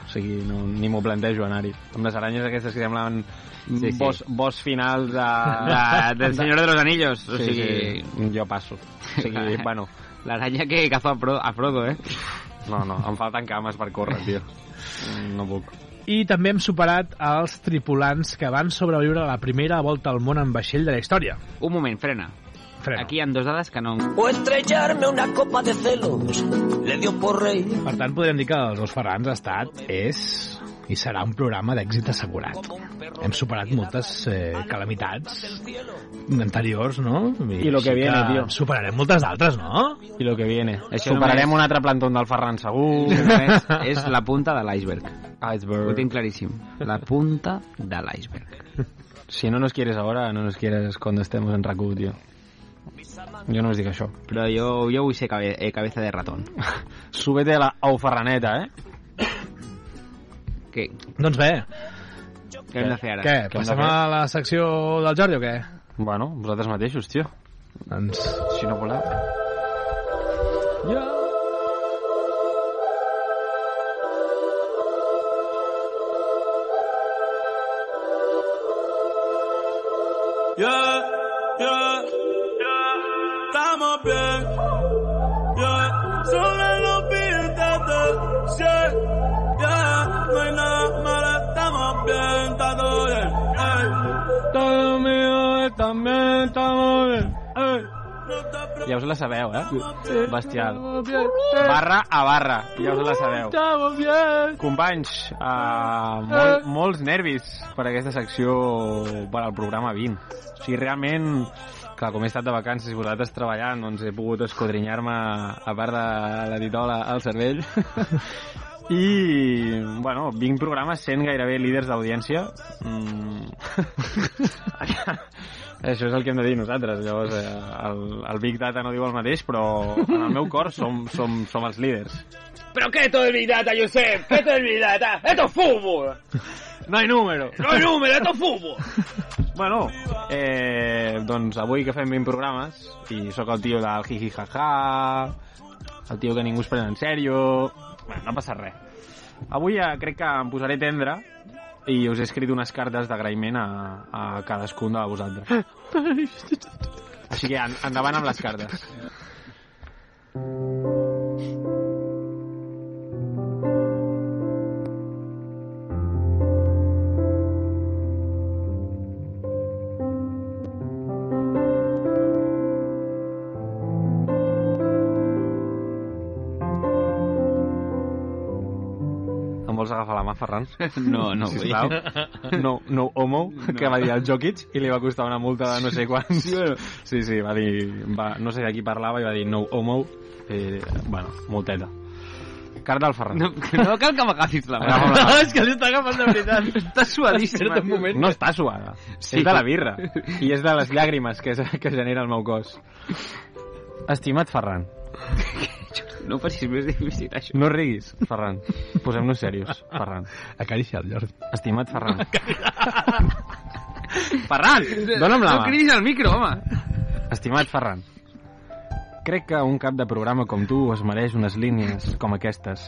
Speaker 4: O sigui, no, ni m'ho plantejo anar-hi. Amb les aranyes aquestes que semblaven
Speaker 1: Sí,
Speaker 4: sí,
Speaker 1: sí.
Speaker 4: sí. Boss, boss finals de...
Speaker 1: De- del Senyor de los Anillos, o
Speaker 4: Sí,
Speaker 1: sigui-
Speaker 4: sí, jo passo. O sigui, bueno...
Speaker 1: L'aranya que cazó a, Fro- a Frodo, eh?
Speaker 4: No, no, em falten cames per córrer, tio. Mm, No puc.
Speaker 3: I també hem superat els tripulants que van sobreviure a la primera volta al món en vaixell de la història.
Speaker 1: Un moment, frena.
Speaker 3: Frena.
Speaker 1: Aquí hi ha dos dades que no...
Speaker 12: O estrellarme una copa de celos. Le dio por rey.
Speaker 3: Per tant, podríem dir que els dos Ferrans ha estat, és i serà un programa d'èxit assegurat. Hem superat moltes eh, calamitats anteriors, no?
Speaker 4: I lo
Speaker 3: així
Speaker 4: que viene, tio.
Speaker 3: Superarem moltes d'altres, no?
Speaker 4: I lo que viene.
Speaker 1: Això
Speaker 4: Això Superarem
Speaker 1: només-
Speaker 4: un altre plantón del Ferran, segur.
Speaker 1: Només és la punta de l'iceberg.
Speaker 4: Iceberg.
Speaker 1: Ho tinc claríssim. La punta de l'iceberg.
Speaker 4: Si no nos quieres ahora, no nos quieres cuando estemos en RACU, tío. Jo no us dic això.
Speaker 1: Però jo, jo vull ser cabe, eh, cabeza de ratón.
Speaker 4: Súbete a la auferraneta, eh?
Speaker 1: Què,
Speaker 3: Doncs bé.
Speaker 1: què hem de fer ara?
Speaker 3: Què?
Speaker 4: Què hem
Speaker 3: Passem
Speaker 4: de fer?
Speaker 3: a la secció del Jordi o què?
Speaker 4: Bueno, vosaltres mateixos, tio.
Speaker 3: Doncs...
Speaker 4: Si no voleu.
Speaker 13: Yeah, yeah, estamos bien. Yeah, solo no pídete, yeah, yeah, no hay nada malo, estamos bien, está todo bien, ey. Todo mío también, estamos bien, ey.
Speaker 4: Ja us la sabeu, eh? Bestial. Barra a barra, ja us la sabeu.
Speaker 13: Estamos bien.
Speaker 4: Companys, uh, mol, molts nervis per aquesta secció per al programa 20. O sigui, realment, clar, com he estat de vacances i vosaltres treballant, doncs he pogut escodrinyar-me a part de la titola al cervell. I, bueno, 20 programes sent gairebé líders d'audiència. Mm. Això és el que hem de dir nosaltres. Llavors, eh, el, el Big Data no diu el mateix, però en el meu cor som, som, som els líders.
Speaker 2: ¿Pero qué es todo el Big Data, Josep? ¿Qué es todo el Big Data? ¡Esto es fútbol!
Speaker 4: No hay número.
Speaker 2: ¡No hay número, esto es fútbol!
Speaker 4: Bueno, eh, doncs avui que fem 20 programes i sóc el tio del hi hi ha ha, el tio que ningú es pren en sèrio... Bueno, no passa res. Avui eh, crec que em posaré tendre i us he escrit unes cartes d'agraïment a, a cadascun de vosaltres. Així que en, endavant amb les cartes. Em vols agafar la mà, Ferran?
Speaker 1: No, no vull.
Speaker 4: Sisplau. No, no homo, no. que va dir el Jokic i li va costar una multa de no sé quants. Sí, sí, sí va dir... Va, no sé de qui parlava i va dir no homo. Eh, bueno, multeta. Carta al Ferran.
Speaker 1: No, no cal que m'agafis la mà.
Speaker 4: Agafa'm la mà.
Speaker 1: és que li està agafant de veritat. Està suadíssima.
Speaker 4: Espera't un
Speaker 1: tio.
Speaker 4: moment. No està suada.
Speaker 1: Sí.
Speaker 4: Sí. És de la birra. I és de les llàgrimes que, que genera el meu cos. Estimat Ferran,
Speaker 1: No ho facis més difícil, això.
Speaker 4: no riguis, Ferran. Posem-nos serios, Ferran.
Speaker 3: Acaricia el Jordi.
Speaker 4: Estimat Ferran. Ferran, dona'm la mà.
Speaker 1: No cridis al micro, home.
Speaker 4: Estimat Ferran, crec que un cap de programa com tu es mereix unes línies com aquestes.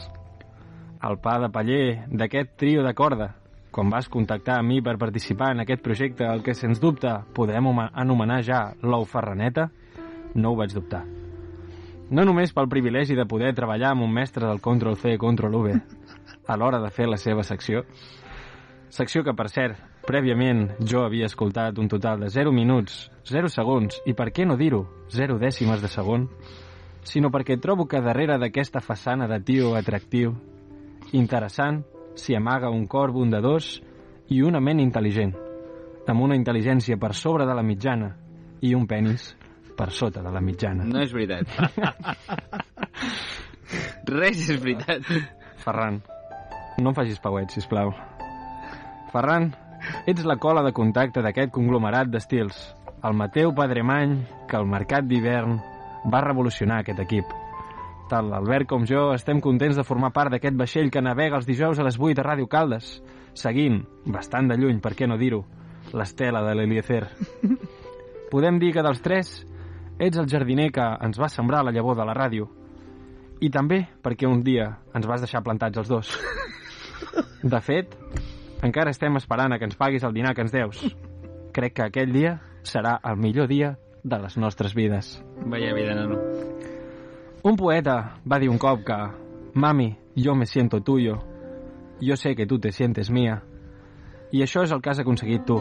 Speaker 4: El pa de paller d'aquest trio de corda. Quan vas contactar amb mi per participar en aquest projecte, el que sens dubte podrem homa- anomenar ja l'ou ferraneta, no ho vaig dubtar. No només pel privilegi de poder treballar amb un mestre del Ctrl-C i Ctrl-V a l'hora de fer la seva secció, Secció que, per cert, prèviament jo havia escoltat un total de 0 minuts, 0 segons i, per què no dir-ho, 0 dècimes de segon, sinó perquè trobo que darrere d'aquesta façana de tio atractiu, interessant, s'hi amaga un cor bondadós i una ment intel·ligent, amb una intel·ligència per sobre de la mitjana i un penis per sota de la mitjana.
Speaker 1: No és veritat. Res és veritat.
Speaker 4: Ferran, no em facis pauet, sisplau. Ferran, ets la cola de contacte d'aquest conglomerat d'estils. El Mateu Padremany, que al mercat d'hivern va revolucionar aquest equip. Tant l'Albert com jo estem contents de formar part d'aquest vaixell que navega els dijous a les 8 a Ràdio Caldes, seguint, bastant de lluny, per què no dir-ho, l'estela de l'Eliezer. Podem dir que dels tres ets el jardiner que ens va sembrar la llavor de la ràdio, i també perquè un dia ens vas deixar plantats els dos. De fet, encara estem esperant a que ens paguis el dinar que ens deus. Crec que aquell dia serà el millor dia de les nostres vides.
Speaker 1: Vaya vida, nano.
Speaker 4: Un poeta va dir un cop que Mami, jo me siento tuyo. Jo sé que tu te sientes mía. I això és el que has aconseguit tu.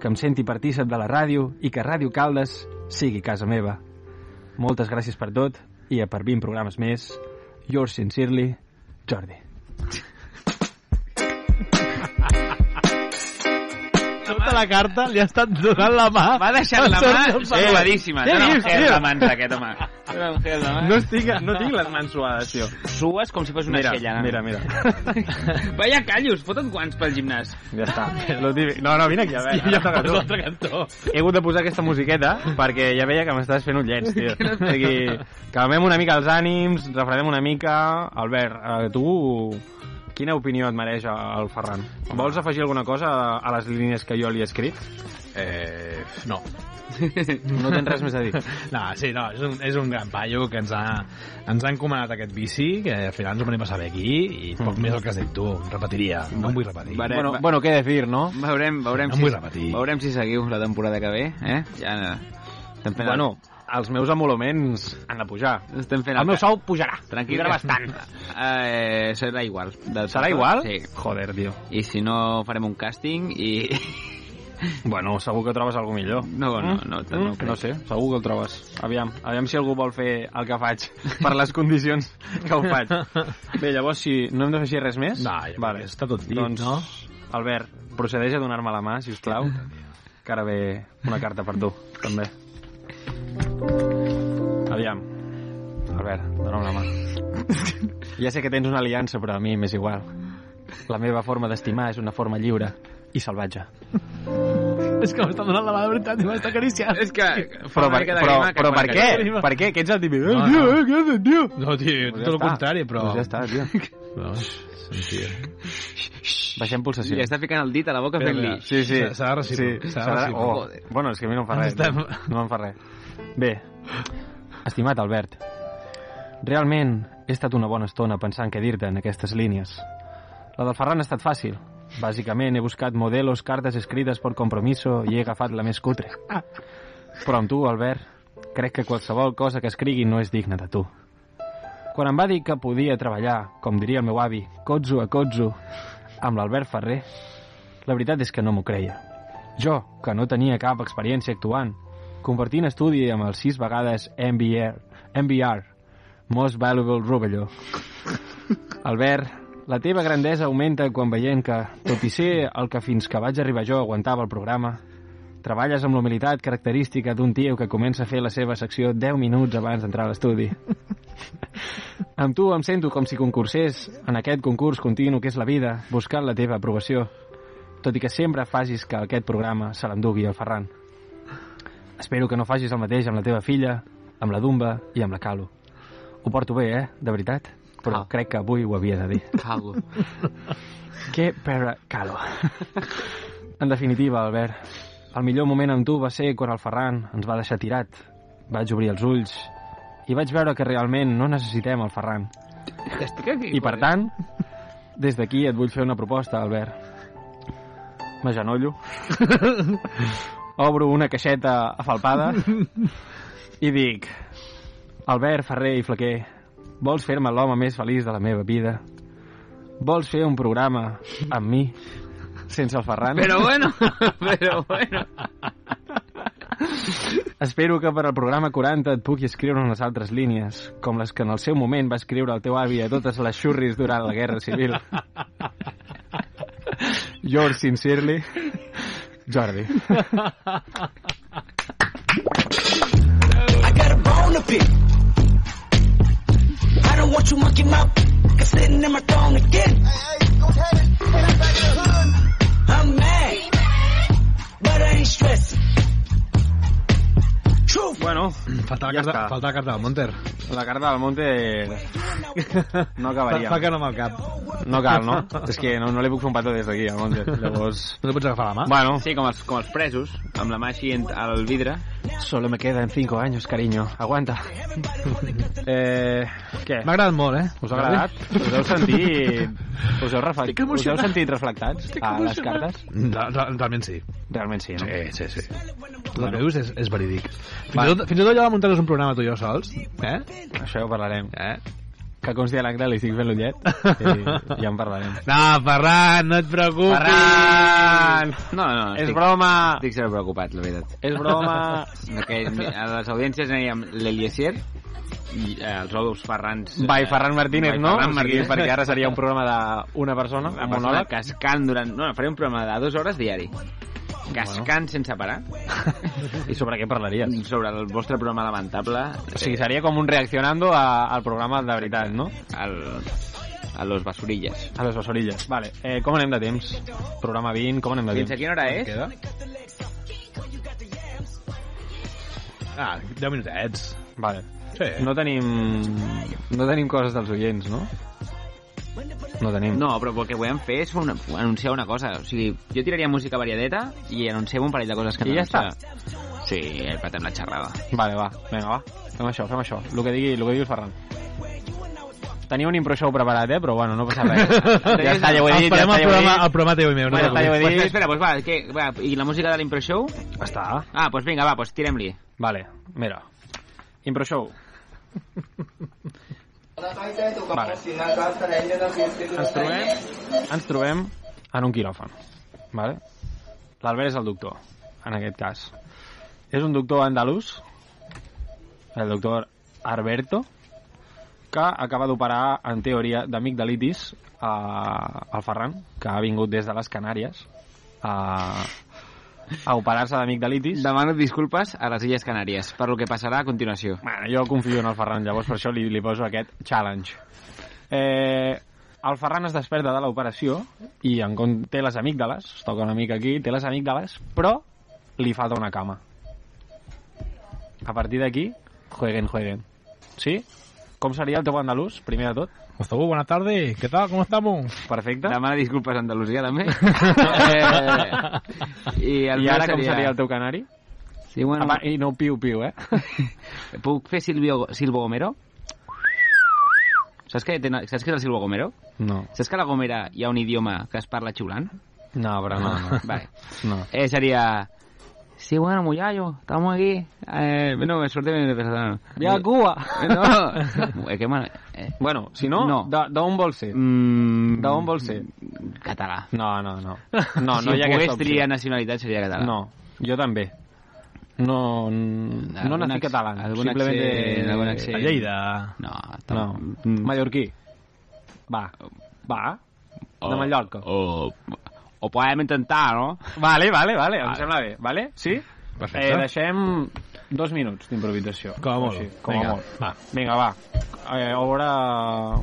Speaker 4: Que em senti partícip de la ràdio i que Ràdio Caldes sigui casa meva. Moltes gràcies per tot i per 20 programes més. Yours sincerely, Jordi.
Speaker 3: Tota la carta li ha estat donant la mà.
Speaker 1: Va deixar la mà suadíssima. Té
Speaker 3: Què
Speaker 1: un
Speaker 3: dius,
Speaker 1: gel
Speaker 3: tio?
Speaker 1: de mans, aquest home. Té un gel de mans.
Speaker 4: No estic, no tinc les mans suades, tio.
Speaker 1: Sues com si fos una
Speaker 4: Mira,
Speaker 1: aixella, nano.
Speaker 4: mira, mira.
Speaker 1: Vaya callos, foten guants pel gimnàs.
Speaker 4: Ja està. És lo típic. No, no, vine aquí, a veure.
Speaker 1: Hòstia,
Speaker 4: ara
Speaker 1: posa
Speaker 4: toca
Speaker 1: l'altre
Speaker 4: tu. He hagut de posar aquesta musiqueta perquè ja veia que m'estaves fent un llenç, tio. O sigui, calmem una mica els ànims, refredem una mica. Albert, eh, tu... Quina opinió et mereix el Ferran? Vols afegir alguna cosa a les línies que jo li he escrit?
Speaker 3: Eh, no.
Speaker 4: No tens res més a dir?
Speaker 3: No, sí, no, és un, és un gran paio que ens ha, ens ha encomanat aquest bici, que al final ens ho venim a saber aquí, i poc
Speaker 4: Mm.
Speaker 3: més el que has dit tu, repetiria, no em vull repetir.
Speaker 1: Vale,
Speaker 4: bueno,
Speaker 1: va-
Speaker 4: bueno, què decir, no?
Speaker 1: Veurem, veurem,
Speaker 3: No em vull
Speaker 1: si,
Speaker 3: repetir.
Speaker 1: veurem si seguiu la temporada que ve, eh? Ja... Estem fent
Speaker 4: Bueno, els meus emoluments han de pujar.
Speaker 1: el, estem fent
Speaker 4: El meu sou pujarà.
Speaker 1: Tranquil.
Speaker 4: Pujarà bastant.
Speaker 1: Eh, serà igual. Del total,
Speaker 4: Serà igual?
Speaker 1: Sí.
Speaker 4: Joder, tio.
Speaker 1: I si no, farem un càsting i...
Speaker 4: Bueno, segur que trobes alguna millor.
Speaker 1: No, no, no, no,
Speaker 4: Mm, no sé, segur que el trobes. Aviam, aviam si algú vol fer el que faig per les condicions que ho faig. Bé, llavors, si no hem de fer res més...
Speaker 3: No, ja
Speaker 4: vale.
Speaker 3: està tot dit,
Speaker 4: doncs,
Speaker 3: no?
Speaker 4: Albert, procedeix a donar-me la mà, si us plau, que ara ve una carta per tu, també. Aviam. Albert, dona'm la mà. Ja sé que tens una aliança, però a mi m'és igual. La meva forma d'estimar és una forma lliure i salvatge.
Speaker 3: És que m'està donant la mà de veritat i m'està acariciant.
Speaker 1: És que...
Speaker 4: Però, per, però, però per què? Per què? Que ets el típic... No, no.
Speaker 3: eh, què haces, tio? No, tio,
Speaker 4: Pues ja
Speaker 3: tot el
Speaker 4: està.
Speaker 3: contrari, però...
Speaker 4: Pues ja està, tio.
Speaker 3: No, sentia.
Speaker 4: Baixem pulsació.
Speaker 1: Li està ficant el dit a la boca fent-li...
Speaker 3: espera.
Speaker 4: Sí, sí.
Speaker 3: S'ha- s'ha de recíproc, s'ha de recíproc.
Speaker 4: Oh.
Speaker 1: Joder.
Speaker 4: Bueno, és que a mi no em fa res.
Speaker 3: Estem-
Speaker 4: Estem... No em fa res. Bé, estimat Albert, realment he estat una bona estona pensant què dir-te en aquestes línies. La del Ferran ha estat fàcil. Bàsicament he buscat modelos, cartes escrites per compromiso i he agafat la més cutre. Però amb tu, Albert, crec que qualsevol cosa que escrigui no és digna de tu. Quan em va dir que podia treballar, com diria el meu avi, cotzo a cotzo, amb l'Albert Ferrer, la veritat és que no m'ho creia. Jo, que no tenia cap experiència actuant, compartint estudi amb el sis vegades MBR, MBR Most Valuable Rubello. Albert, la teva grandesa augmenta quan veiem que, tot i ser el que fins que vaig arribar jo aguantava el programa, treballes amb l'humilitat característica d'un tio que comença a fer la seva secció 10 minuts abans d'entrar a l'estudi. Amb tu em sento com si concursés en aquest concurs continu que és la vida, buscant la teva aprovació, tot i que sempre facis que aquest programa se l'endugui el Ferran. Espero que no facis el mateix amb la teva filla, amb la Dumba i amb la Calo. Ho porto bé, eh? De veritat. Però
Speaker 1: Ah.
Speaker 4: crec que avui ho havia de dir.
Speaker 1: Cago.
Speaker 4: Que per calo. En definitiva, Albert, el millor moment amb tu va ser quan el Ferran ens va deixar tirat. Vaig obrir els ulls i vaig veure que realment no necessitem el Ferran.
Speaker 1: Estic aquí.
Speaker 4: I per tant, des d'aquí et vull fer una proposta, Albert. M'agenollo. Obro una caixeta afalpada i dic... Albert Ferrer i Flaquer, vols fer-me l'home més feliç de la meva vida? Vols fer un programa amb mi, sense el Ferran?
Speaker 1: Però bueno, però bueno.
Speaker 4: Espero que per al programa 40 et pugui escriure unes altres línies, com les que en el seu moment va escriure el teu avi a totes les xurris durant la Guerra Civil. Yours sincerely, Jordi.
Speaker 12: I got a bone to pick. I don't want you monkeying my p- sitting in my throne again. I'm mad, but I ain't stressing. Truth.
Speaker 4: Bueno,
Speaker 3: Falta la,
Speaker 4: Ja
Speaker 3: carta,
Speaker 4: està.
Speaker 3: falta la carta del Monter.
Speaker 4: La carta del Monte no acabaria.
Speaker 3: Fa, fa que no amb el cap.
Speaker 4: No cal, no? És que no, no li puc fer un petó des d'aquí, al Monte. Llavors...
Speaker 3: No li pots agafar la mà?
Speaker 4: Bueno.
Speaker 1: Sí, com els, com els presos, amb la mà així ent- al vidre.
Speaker 4: Solo me quedan 5 años, cariño. Aguanta. Eh, què?
Speaker 3: M'ha agradat molt, eh?
Speaker 4: Us ha agradat? Us heu sentit... Us heu, refle...
Speaker 3: Estic
Speaker 4: us heu
Speaker 3: emocionat.
Speaker 4: sentit reflectats a les
Speaker 3: emocionat.
Speaker 4: cartes?
Speaker 3: Re- re- Realment sí.
Speaker 4: Realment sí, no?
Speaker 3: Sí, sí, sí. El que dius és, és verídic. Fins, i tot, fins i tot allò de muntar-nos un programa tu i jo sols, eh?
Speaker 4: Això ja ho parlarem.
Speaker 3: Eh?
Speaker 4: Que consti a l'Angra, li estic fent l'ullet i ja en parlarem.
Speaker 3: No, Ferran, no et preocupis.
Speaker 1: Ferran! No, no,
Speaker 4: És broma!
Speaker 1: Estic sempre preocupat, la veritat.
Speaker 4: És broma!
Speaker 1: Que a les audiències anèiem l'Eliesier i eh, els ous Ferrans... eh,
Speaker 4: By Ferran Martínez,
Speaker 1: by
Speaker 4: no?
Speaker 1: Ferran
Speaker 4: O sigui,
Speaker 1: Martínez,
Speaker 4: perquè ara seria un programa d'una persona,
Speaker 1: La
Speaker 4: un
Speaker 1: persona
Speaker 4: monòleg.
Speaker 1: cascant durant... No, faré un programa de dues hores diari. Cascant sense parar.
Speaker 4: I sobre què parlaries?
Speaker 1: Sobre el vostre programa lamentable.
Speaker 4: O sigui, seria com un reaccionando a, al programa de veritat, no?
Speaker 1: Al, a los basurillas.
Speaker 4: A les Osorilles. Vale, eh, com anem de temps? Programa 20, com anem de
Speaker 1: Fins a
Speaker 4: temps?
Speaker 1: quina hora eh? és?
Speaker 3: Queda? Ah, 10 minutets.
Speaker 4: Vale.
Speaker 3: Sí.
Speaker 4: No tenim... No tenim coses dels oients, no? No tenim.
Speaker 1: No, però el que volem fer és una, anunciar una cosa. O sigui, jo tiraria música variadeta i anunciem un parell de coses que
Speaker 4: I ja
Speaker 1: està. Sí, patem la xerrada.
Speaker 4: Vale, va, vinga, va. Fem això, fem això. El que digui, el que digui el Ferran. Tenia un impro show preparat, eh? Però bueno, no passa res. ja està, ja ho he dit, ja
Speaker 3: Esperem el
Speaker 4: està, ja ho he
Speaker 3: programa, el
Speaker 4: dit.
Speaker 3: programa teu i meu.
Speaker 4: Bueno,
Speaker 3: No
Speaker 4: està, ja ho he
Speaker 3: t'ho
Speaker 1: Pues,
Speaker 4: dit.
Speaker 1: espera, pues va, què, va, i la música de l'impro show?
Speaker 4: Està.
Speaker 1: Ah, pues vinga, va, pues tirem-li.
Speaker 4: Vale, mira. Impro show. Vale. Ens trobem, ens trobem en un quiròfan. Vale? L'Albert és el doctor, en aquest cas. És un doctor andalús, el doctor Alberto, que acaba d'operar, en teoria, d'amigdalitis a, al Ferran, que ha vingut des de les Canàries a, a operar-se d'amigdalitis.
Speaker 1: Demano disculpes a les Illes Canàries per lo que passarà a continuació.
Speaker 4: Bueno, jo confio en el Ferran, llavors per això li, li poso aquest challenge. Eh, el Ferran es desperta de l'operació i en com té les amígdales, es toca una mica aquí, té les amígdales, però li falta una cama. A partir d'aquí, jueguen, jueguen. Sí? Com seria el teu andalús, primer de tot?
Speaker 3: Gustavo, buenas tardes. ¿Qué tal? ¿Cómo estamos?
Speaker 4: Perfecte.
Speaker 1: Demano disculpes a Andalusia, també. eh, I, el
Speaker 4: I
Speaker 1: meu
Speaker 4: ara com seria el teu canari?
Speaker 1: Sí, bueno,
Speaker 4: Apa, I no piu-piu, eh?
Speaker 1: Puc fer Silvio, Silvo Gomero? Saps què, tenen, saps què és el Silvo Gomero?
Speaker 4: No.
Speaker 1: Saps que a la Gomera hi ha un idioma que es parla xiulant?
Speaker 4: No, però no. no.
Speaker 1: Vale.
Speaker 4: no.
Speaker 1: Eh, seria... Sí, bueno, muchacho, estamos aquí. Eh, no, me suerte me empezaron.
Speaker 4: Ve a Cuba.
Speaker 1: No, eh, qué mal. Eh,
Speaker 4: Bueno, si no,
Speaker 1: No.
Speaker 4: no. d'on vols ser?
Speaker 1: mm,
Speaker 4: D'on vols ser?
Speaker 1: Català.
Speaker 4: No, no, no. No, no
Speaker 1: si
Speaker 4: hi ha
Speaker 1: pogués
Speaker 4: aquesta opció.
Speaker 1: triar nacionalitat seria català.
Speaker 4: No, jo també. No, n- no
Speaker 1: Algun
Speaker 4: nací
Speaker 1: ac-
Speaker 4: català.
Speaker 1: algun
Speaker 4: Simplement
Speaker 1: accent, algun accent.
Speaker 3: A Lleida.
Speaker 1: No,
Speaker 4: No, Mm.
Speaker 1: tam-
Speaker 4: mallorquí. Va, va. De Mallorca.
Speaker 1: O, o Oh, podem intentar, no?
Speaker 4: Vale, vale, vale, em
Speaker 1: Vale.
Speaker 4: sembla bé. Vale? Sí?
Speaker 3: Perfecte.
Speaker 4: Eh, deixem dos minuts d'improvisació.
Speaker 3: Com a molt.
Speaker 4: Així, Com a
Speaker 3: Vinga,
Speaker 4: molt.
Speaker 3: va.
Speaker 4: Vinga, va. Eh, ahora...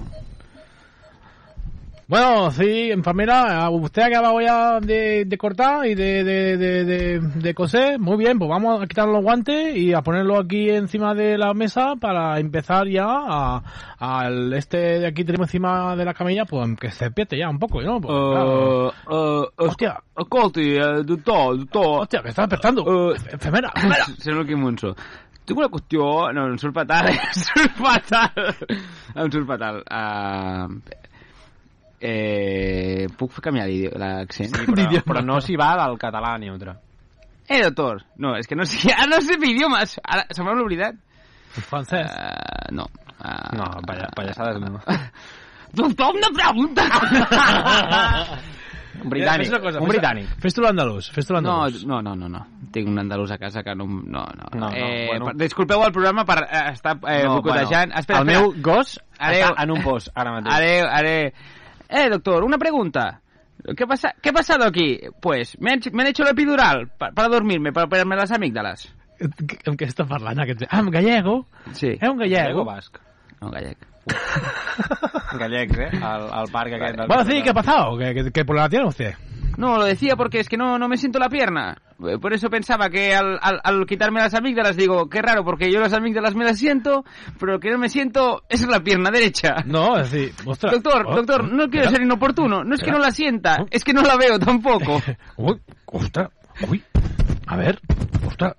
Speaker 3: Bueno, sí, enfermera, a usted acaba ya de, de cortar y de, de, de, de, de coser. Muy bien, pues vamos a quitar los guantes y a ponerlo aquí encima de la mesa para empezar ya a, al este de aquí tenemos encima de la camilla, pues que se piete ya un poco, ¿no? Pues, claro.
Speaker 4: uh,
Speaker 3: Hòstia,
Speaker 4: escolti, eh, doctor, doctor...
Speaker 3: hostia, que está despertando.
Speaker 4: eh,
Speaker 3: enfermera, enfermera.
Speaker 1: Sembla el Quim Monzó. Tinc una qüestió... No, em surt fatal, eh? Em surt fatal. Em surt fatal. Uh... Eh, puc fer canviar l'idi- l'accent? Sí,
Speaker 4: Però, però no s'hi va del català neutre.
Speaker 1: Eh, doctor! No, és que no sé... Ara no sé fer idiomes! Ara, se m'ha oblidat.
Speaker 3: Francés.
Speaker 1: Uh, no. Uh,
Speaker 3: Ah,
Speaker 4: No, palla- pallassades no.
Speaker 1: Doctor, una pregunta!
Speaker 4: Britànic, un britànic.
Speaker 3: Fes-te l'andalús, fes-te
Speaker 1: No,
Speaker 3: l'andalús.
Speaker 1: no, no, no, no. Tinc un andalús a casa que no... No, no.
Speaker 4: pues. No, no,
Speaker 1: eh,
Speaker 4: bueno.
Speaker 1: per- Disculpeu el programa per eh, estar eh,
Speaker 4: No,
Speaker 1: bocotejant.
Speaker 4: bueno,
Speaker 1: espera, espera.
Speaker 4: el meu gos
Speaker 1: Adeu.
Speaker 4: està en un pos, ara mateix.
Speaker 1: Haré, haré... Eh, doctor, una pregunta. ¿Qué, pasa, ¿Qué ha pasado aquí? Pues me han, me han hecho la epidural pa- para dormirme, para operarme las amígdalas.
Speaker 3: Amb què està parlant aquest? Ah, amb gallego?
Speaker 1: Sí.
Speaker 3: Eh, un
Speaker 4: Gallego
Speaker 3: gallego?
Speaker 4: basc.
Speaker 1: No, gallec.
Speaker 4: Gallecs, eh? Al, al parc aquest. del-
Speaker 3: Bueno, sí, ¿qué ha pasado? ¿Qué, qué, qué problema tiene usted?
Speaker 1: No, lo decía porque es que no, no me siento la pierna. Eh, Por eso pensaba que al, al- al quitarme las amígdalas digo, qué raro, porque yo las amígdalas me las siento, pero lo que no me siento es la pierna derecha.
Speaker 3: No, es decir, ostras.
Speaker 1: Doctor,
Speaker 3: Oh,
Speaker 1: doctor, no quiero
Speaker 3: espera.
Speaker 1: ser inoportuno, no es que no
Speaker 3: Espera.
Speaker 1: la sienta, es que no la veo tampoco.
Speaker 3: Uy, ostras, uy. A ver, ostras.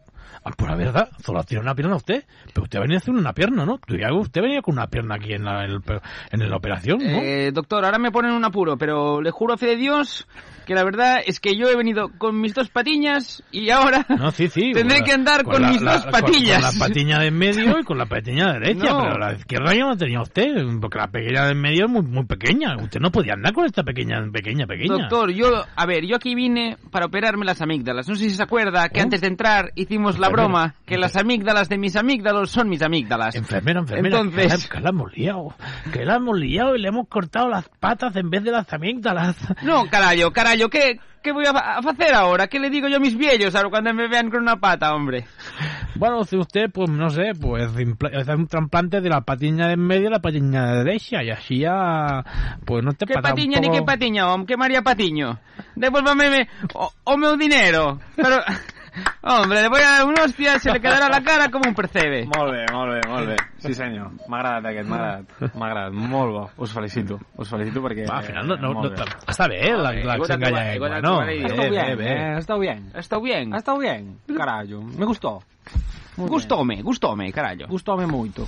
Speaker 3: Ah, Pues la verdad, solo tiene una pierna usted. Pero usted venía haciendo una pierna, ¿no? Tú ya- Usted venía con una pierna aquí en la, en el- en la operación, ¿no?
Speaker 1: Eh, doctor, ahora me ponen un apuro, pero le juro a fe de Dios que la verdad es que yo he venido con mis dos patiñas y ahora
Speaker 3: No, sí, sí.
Speaker 1: tendré
Speaker 3: con la-
Speaker 1: que andar con, mis
Speaker 3: la-
Speaker 1: dos
Speaker 3: con-
Speaker 1: patillas.
Speaker 3: Con, la patilla de en medio y con la patilla derecha,
Speaker 1: No.
Speaker 3: pero la izquierda ya no tenía usted, porque la pequeña de en medio es muy, muy pequeña. Usted no podía andar con esta pequeña, pequeña, pequeña.
Speaker 1: Doctor, yo, a ver, yo aquí vine para operarme las amígdalas. No sé si se acuerda que antes de entrar hicimos la
Speaker 3: Enfermera.
Speaker 1: broma que las amígdalas de mis amígdalos son mis amígdalas.
Speaker 3: Enfermera, enfermera,
Speaker 1: Entonces,
Speaker 3: que, la, que la hemos liado, que la hemos liado y le hemos cortado las patas en vez de las amígdalas.
Speaker 1: no, carayo, carayo, ¿qué, qué voy a, fa- a hacer ahora? ¿Qué le digo yo a mis viejos ahora cuando me vean con una pata, hombre?
Speaker 3: Bueno, si usted, pues no sé, pues impla- hace un trasplante de la patiña de en medio a la patiña de derecha y así ya, pues no te
Speaker 1: ¿Qué
Speaker 3: pasa un
Speaker 1: patiña ni
Speaker 3: poco-
Speaker 1: qué patiña, hom? ¿Qué María Patiño? Devuélvame o, o meu dinero. Pero, hombre, le voy a dar un hostia, se le quedará la cara como un percebe.
Speaker 4: Molt bé, molt bé, molt bé. Sí senyor, m'ha agradat aquest, m'ha agradat. M'ha agradat, molt bo. Us felicito, us felicito perquè...
Speaker 3: Va, al final no- no-
Speaker 4: molt
Speaker 3: no-
Speaker 4: bé.
Speaker 3: està bé, la- la xingalla
Speaker 4: he gotat- he
Speaker 3: llengua,
Speaker 4: gotat-
Speaker 3: no?
Speaker 4: he gotat-
Speaker 3: Bé,
Speaker 4: Està
Speaker 3: bé,
Speaker 4: bien,
Speaker 3: bé.
Speaker 4: eh? Està bien.
Speaker 1: Està bien.
Speaker 4: Està bien, carallo. Me gustó.
Speaker 1: Gustome, gustome, carajo.
Speaker 4: Gustome mucho.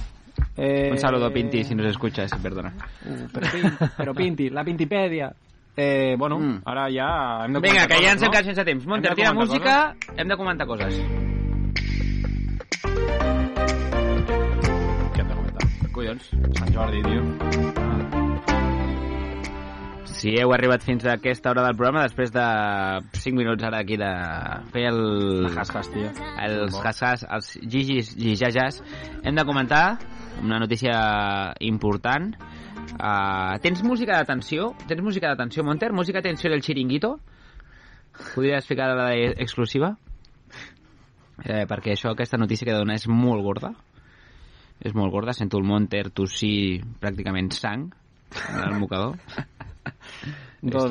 Speaker 4: Eh...
Speaker 1: Un saludo, Pinti, si nos escuchas, perdona.
Speaker 4: Uh, Pero, Pin- pero Pinti, la Pintipedia. Eh, bueno,
Speaker 1: Mm.
Speaker 4: ara ja hem de
Speaker 1: Vinga,
Speaker 4: comentar
Speaker 1: que ja ens
Speaker 4: coses,
Speaker 1: hem quedat sense temps. Monter,
Speaker 4: Hem de
Speaker 1: tira
Speaker 4: comentar
Speaker 1: música, hem de comentar coses.
Speaker 3: Què hem de comentar?
Speaker 1: Collons.
Speaker 4: Sant Jordi, tio. Ah.
Speaker 1: Si heu arribat fins a aquesta hora del programa, després de 5 minuts ara aquí de fer el...
Speaker 4: Has-has, tio.
Speaker 1: Els has-has, els gigis, gijajas, hem de comentar una notícia important. Uh, tens música d'atenció? Tens música d'atenció, Monter? Música d'atenció del xiringuito? Podries ficar la de exclusiva? Eh, perquè això, aquesta notícia que he de donar és molt gorda. És molt gorda, sento el Monter tossir pràcticament sang al mocador.
Speaker 4: Dos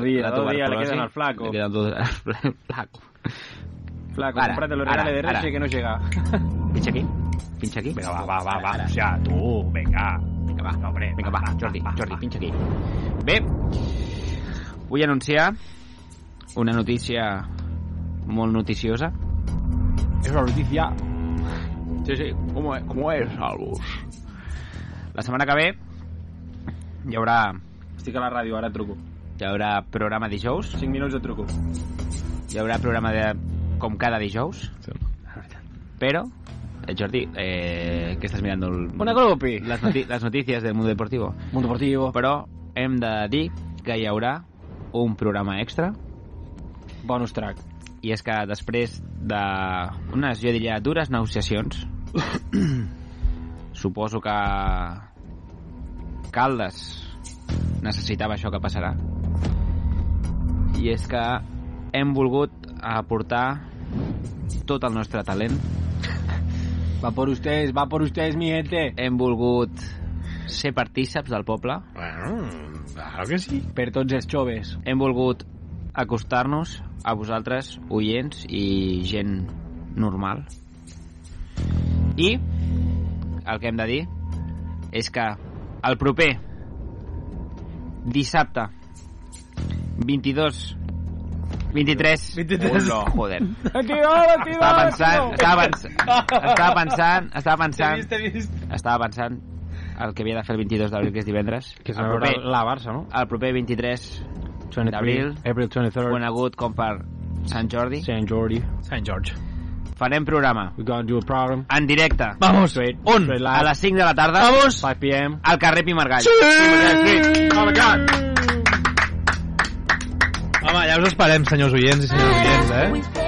Speaker 1: Esto,
Speaker 4: días,
Speaker 1: la
Speaker 4: dos días, le
Speaker 1: tuberculosis,
Speaker 4: quedan al flaco.
Speaker 1: Le quedan dos al flaco.
Speaker 4: Flaco,
Speaker 1: Ara,
Speaker 4: comprate los
Speaker 1: ara,
Speaker 4: reales de
Speaker 1: ara.
Speaker 4: Reche que no llega.
Speaker 1: Pincha aquí. Pincha aquí. Venga, va, va, va, va. O sea, tú, venga. Vinga, va, hombre. Vinga, va, Jordi, Jordi, pinxa aquí. Bé, vull anunciar una notícia molt noticiosa.
Speaker 4: És una notícia...
Speaker 1: Sí, sí, com és, com és Albus? La setmana que ve hi haurà...
Speaker 4: Estic a la ràdio, ara et truco.
Speaker 1: Hi haurà programa dijous.
Speaker 4: 5 minuts de truco.
Speaker 1: Hi haurà programa de... com cada dijous. Sí. Però, eh, Jordi, eh, que estàs mirant el...
Speaker 4: Una grupi.
Speaker 1: Les, noti les notícies del Mundo Deportivo.
Speaker 4: Mundo Deportivo.
Speaker 1: Però hem de dir que hi haurà un programa extra
Speaker 4: Bonus track.
Speaker 1: i és que després de unes, jo diria, dures negociacions suposo que Caldes necessitava això que passarà i és que hem volgut aportar tot el nostre talent
Speaker 4: va por ustedes, va por ustedes mi gente
Speaker 1: hem volgut ser partíceps del poble
Speaker 3: Bueno, claro que sí.
Speaker 4: Per tots els joves.
Speaker 1: hem volgut acostar-nos a vosaltres, oients i gent normal. I el que hem de dir és que el proper dissabte 22 23
Speaker 4: 23.
Speaker 1: Hola, joder.
Speaker 4: Tio, tio,
Speaker 1: Estava pensant, estava pensant, estava pensant, estava pensant, estava pensant el que havia de fer el 22 d'abril, que és divendres.
Speaker 4: Que és
Speaker 1: El
Speaker 4: veure la Barça, no?
Speaker 1: El proper 23
Speaker 4: 23,
Speaker 1: d'abril,
Speaker 4: April 23rd.
Speaker 1: conegut com per Sant Jordi,
Speaker 4: Sant Jordi.
Speaker 3: Sant George.
Speaker 1: farem programa
Speaker 4: We're gonna do a program.
Speaker 1: en directe.
Speaker 3: Vamos.
Speaker 1: On? A les 5 de la tarda. Vamos.
Speaker 4: 5 p.m.
Speaker 1: Al carrer Pi Margall.
Speaker 4: Oh my god!
Speaker 3: Home, ja us esperem, senyors oients i senyores oients, eh?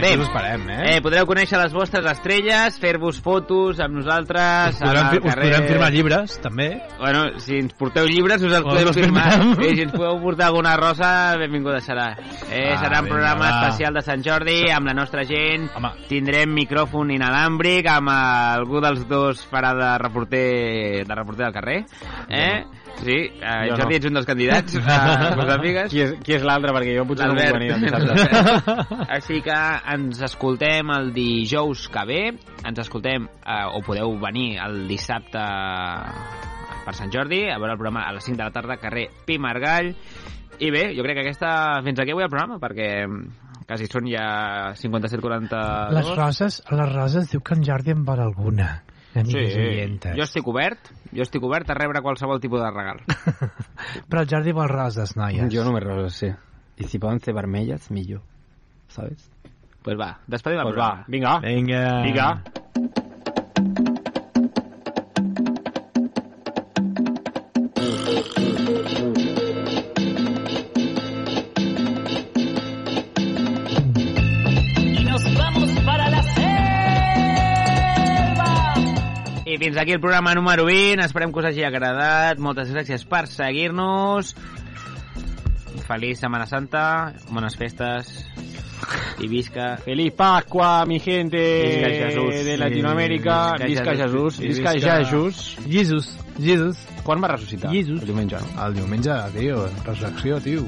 Speaker 1: Bé.
Speaker 3: Aquí us esperem, eh?
Speaker 1: Eh, podreu conèixer les vostres estrelles, fer-vos fotos amb nosaltres
Speaker 3: us,
Speaker 1: al
Speaker 3: podran, fi- us
Speaker 1: carrer.
Speaker 3: podran firmar llibres, també.
Speaker 1: Bueno, si ens porteu llibres, us els
Speaker 3: Us
Speaker 1: podem
Speaker 3: els
Speaker 1: firmar.
Speaker 3: firmem.
Speaker 1: I si ens podeu portar alguna rosa, benvinguda serà. Eh,
Speaker 3: Ah,
Speaker 1: serà un
Speaker 3: vinga,
Speaker 1: programa
Speaker 3: va.
Speaker 1: especial de Sant Jordi, amb la nostra gent.
Speaker 3: Home.
Speaker 1: Tindrem micròfon inalàmbric amb eh, algú dels dos farà de reporter, de reporter del carrer. Eh? Sí, eh,
Speaker 4: Jo
Speaker 1: Jordi,
Speaker 4: no.
Speaker 1: ets un dels candidats eh, a les amigues.
Speaker 4: Qui és, qui és l'altre? Perquè jo potser no puc venir el dissabte.
Speaker 1: L'Albert. Així que ens escoltem el dijous que ve, ens escoltem, eh, o podeu venir el dissabte per Sant Jordi, a veure el programa a les 5 de la tarda, carrer Pi Margall. I bé, jo crec que aquesta... Fins aquí avui el programa, perquè mm, quasi són ja 57-42.
Speaker 14: Les roses, les roses diu que en Jordi en vol alguna. Amigues sí. oientes.
Speaker 1: jo estic obert, jo estic obert a rebre qualsevol tipus de regal.
Speaker 14: Però el Jordi vol roses, noies.
Speaker 4: Jo només roses, sí. I si poden ser vermelles, millor. Saps?
Speaker 1: Pues va, despedim
Speaker 4: el pues va, vinga.
Speaker 3: Vinga.
Speaker 4: Vinga.
Speaker 15: Y nos vamos para la selva.
Speaker 1: I fins aquí el programa número 20. Esperem que us hagi agradat. Moltes gràcies per seguir-nos. Feliç Setmana Santa, bones festes i visca...
Speaker 4: Feliz Pascua, mi gente
Speaker 1: Visca Jesús.
Speaker 4: de Latinoamèrica.
Speaker 1: Sí,
Speaker 4: Visca Jesús. Visca Jesús.
Speaker 3: Jesus, Jesus.
Speaker 4: Quan va ressuscitar?
Speaker 3: Jesus.
Speaker 4: El diumenge.
Speaker 3: El diumenge, tio, resurrecció, tio.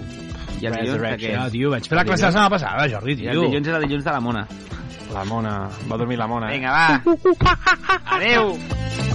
Speaker 1: I el dilluns de què és?
Speaker 3: Ah, tio, vaig fer la classe la setmana passada, Jordi,
Speaker 1: I
Speaker 3: tio.
Speaker 1: el dilluns era dilluns de la mona.
Speaker 4: Ah. eh? La mona. Va dormir la mona.
Speaker 1: Vinga, va. Adeu.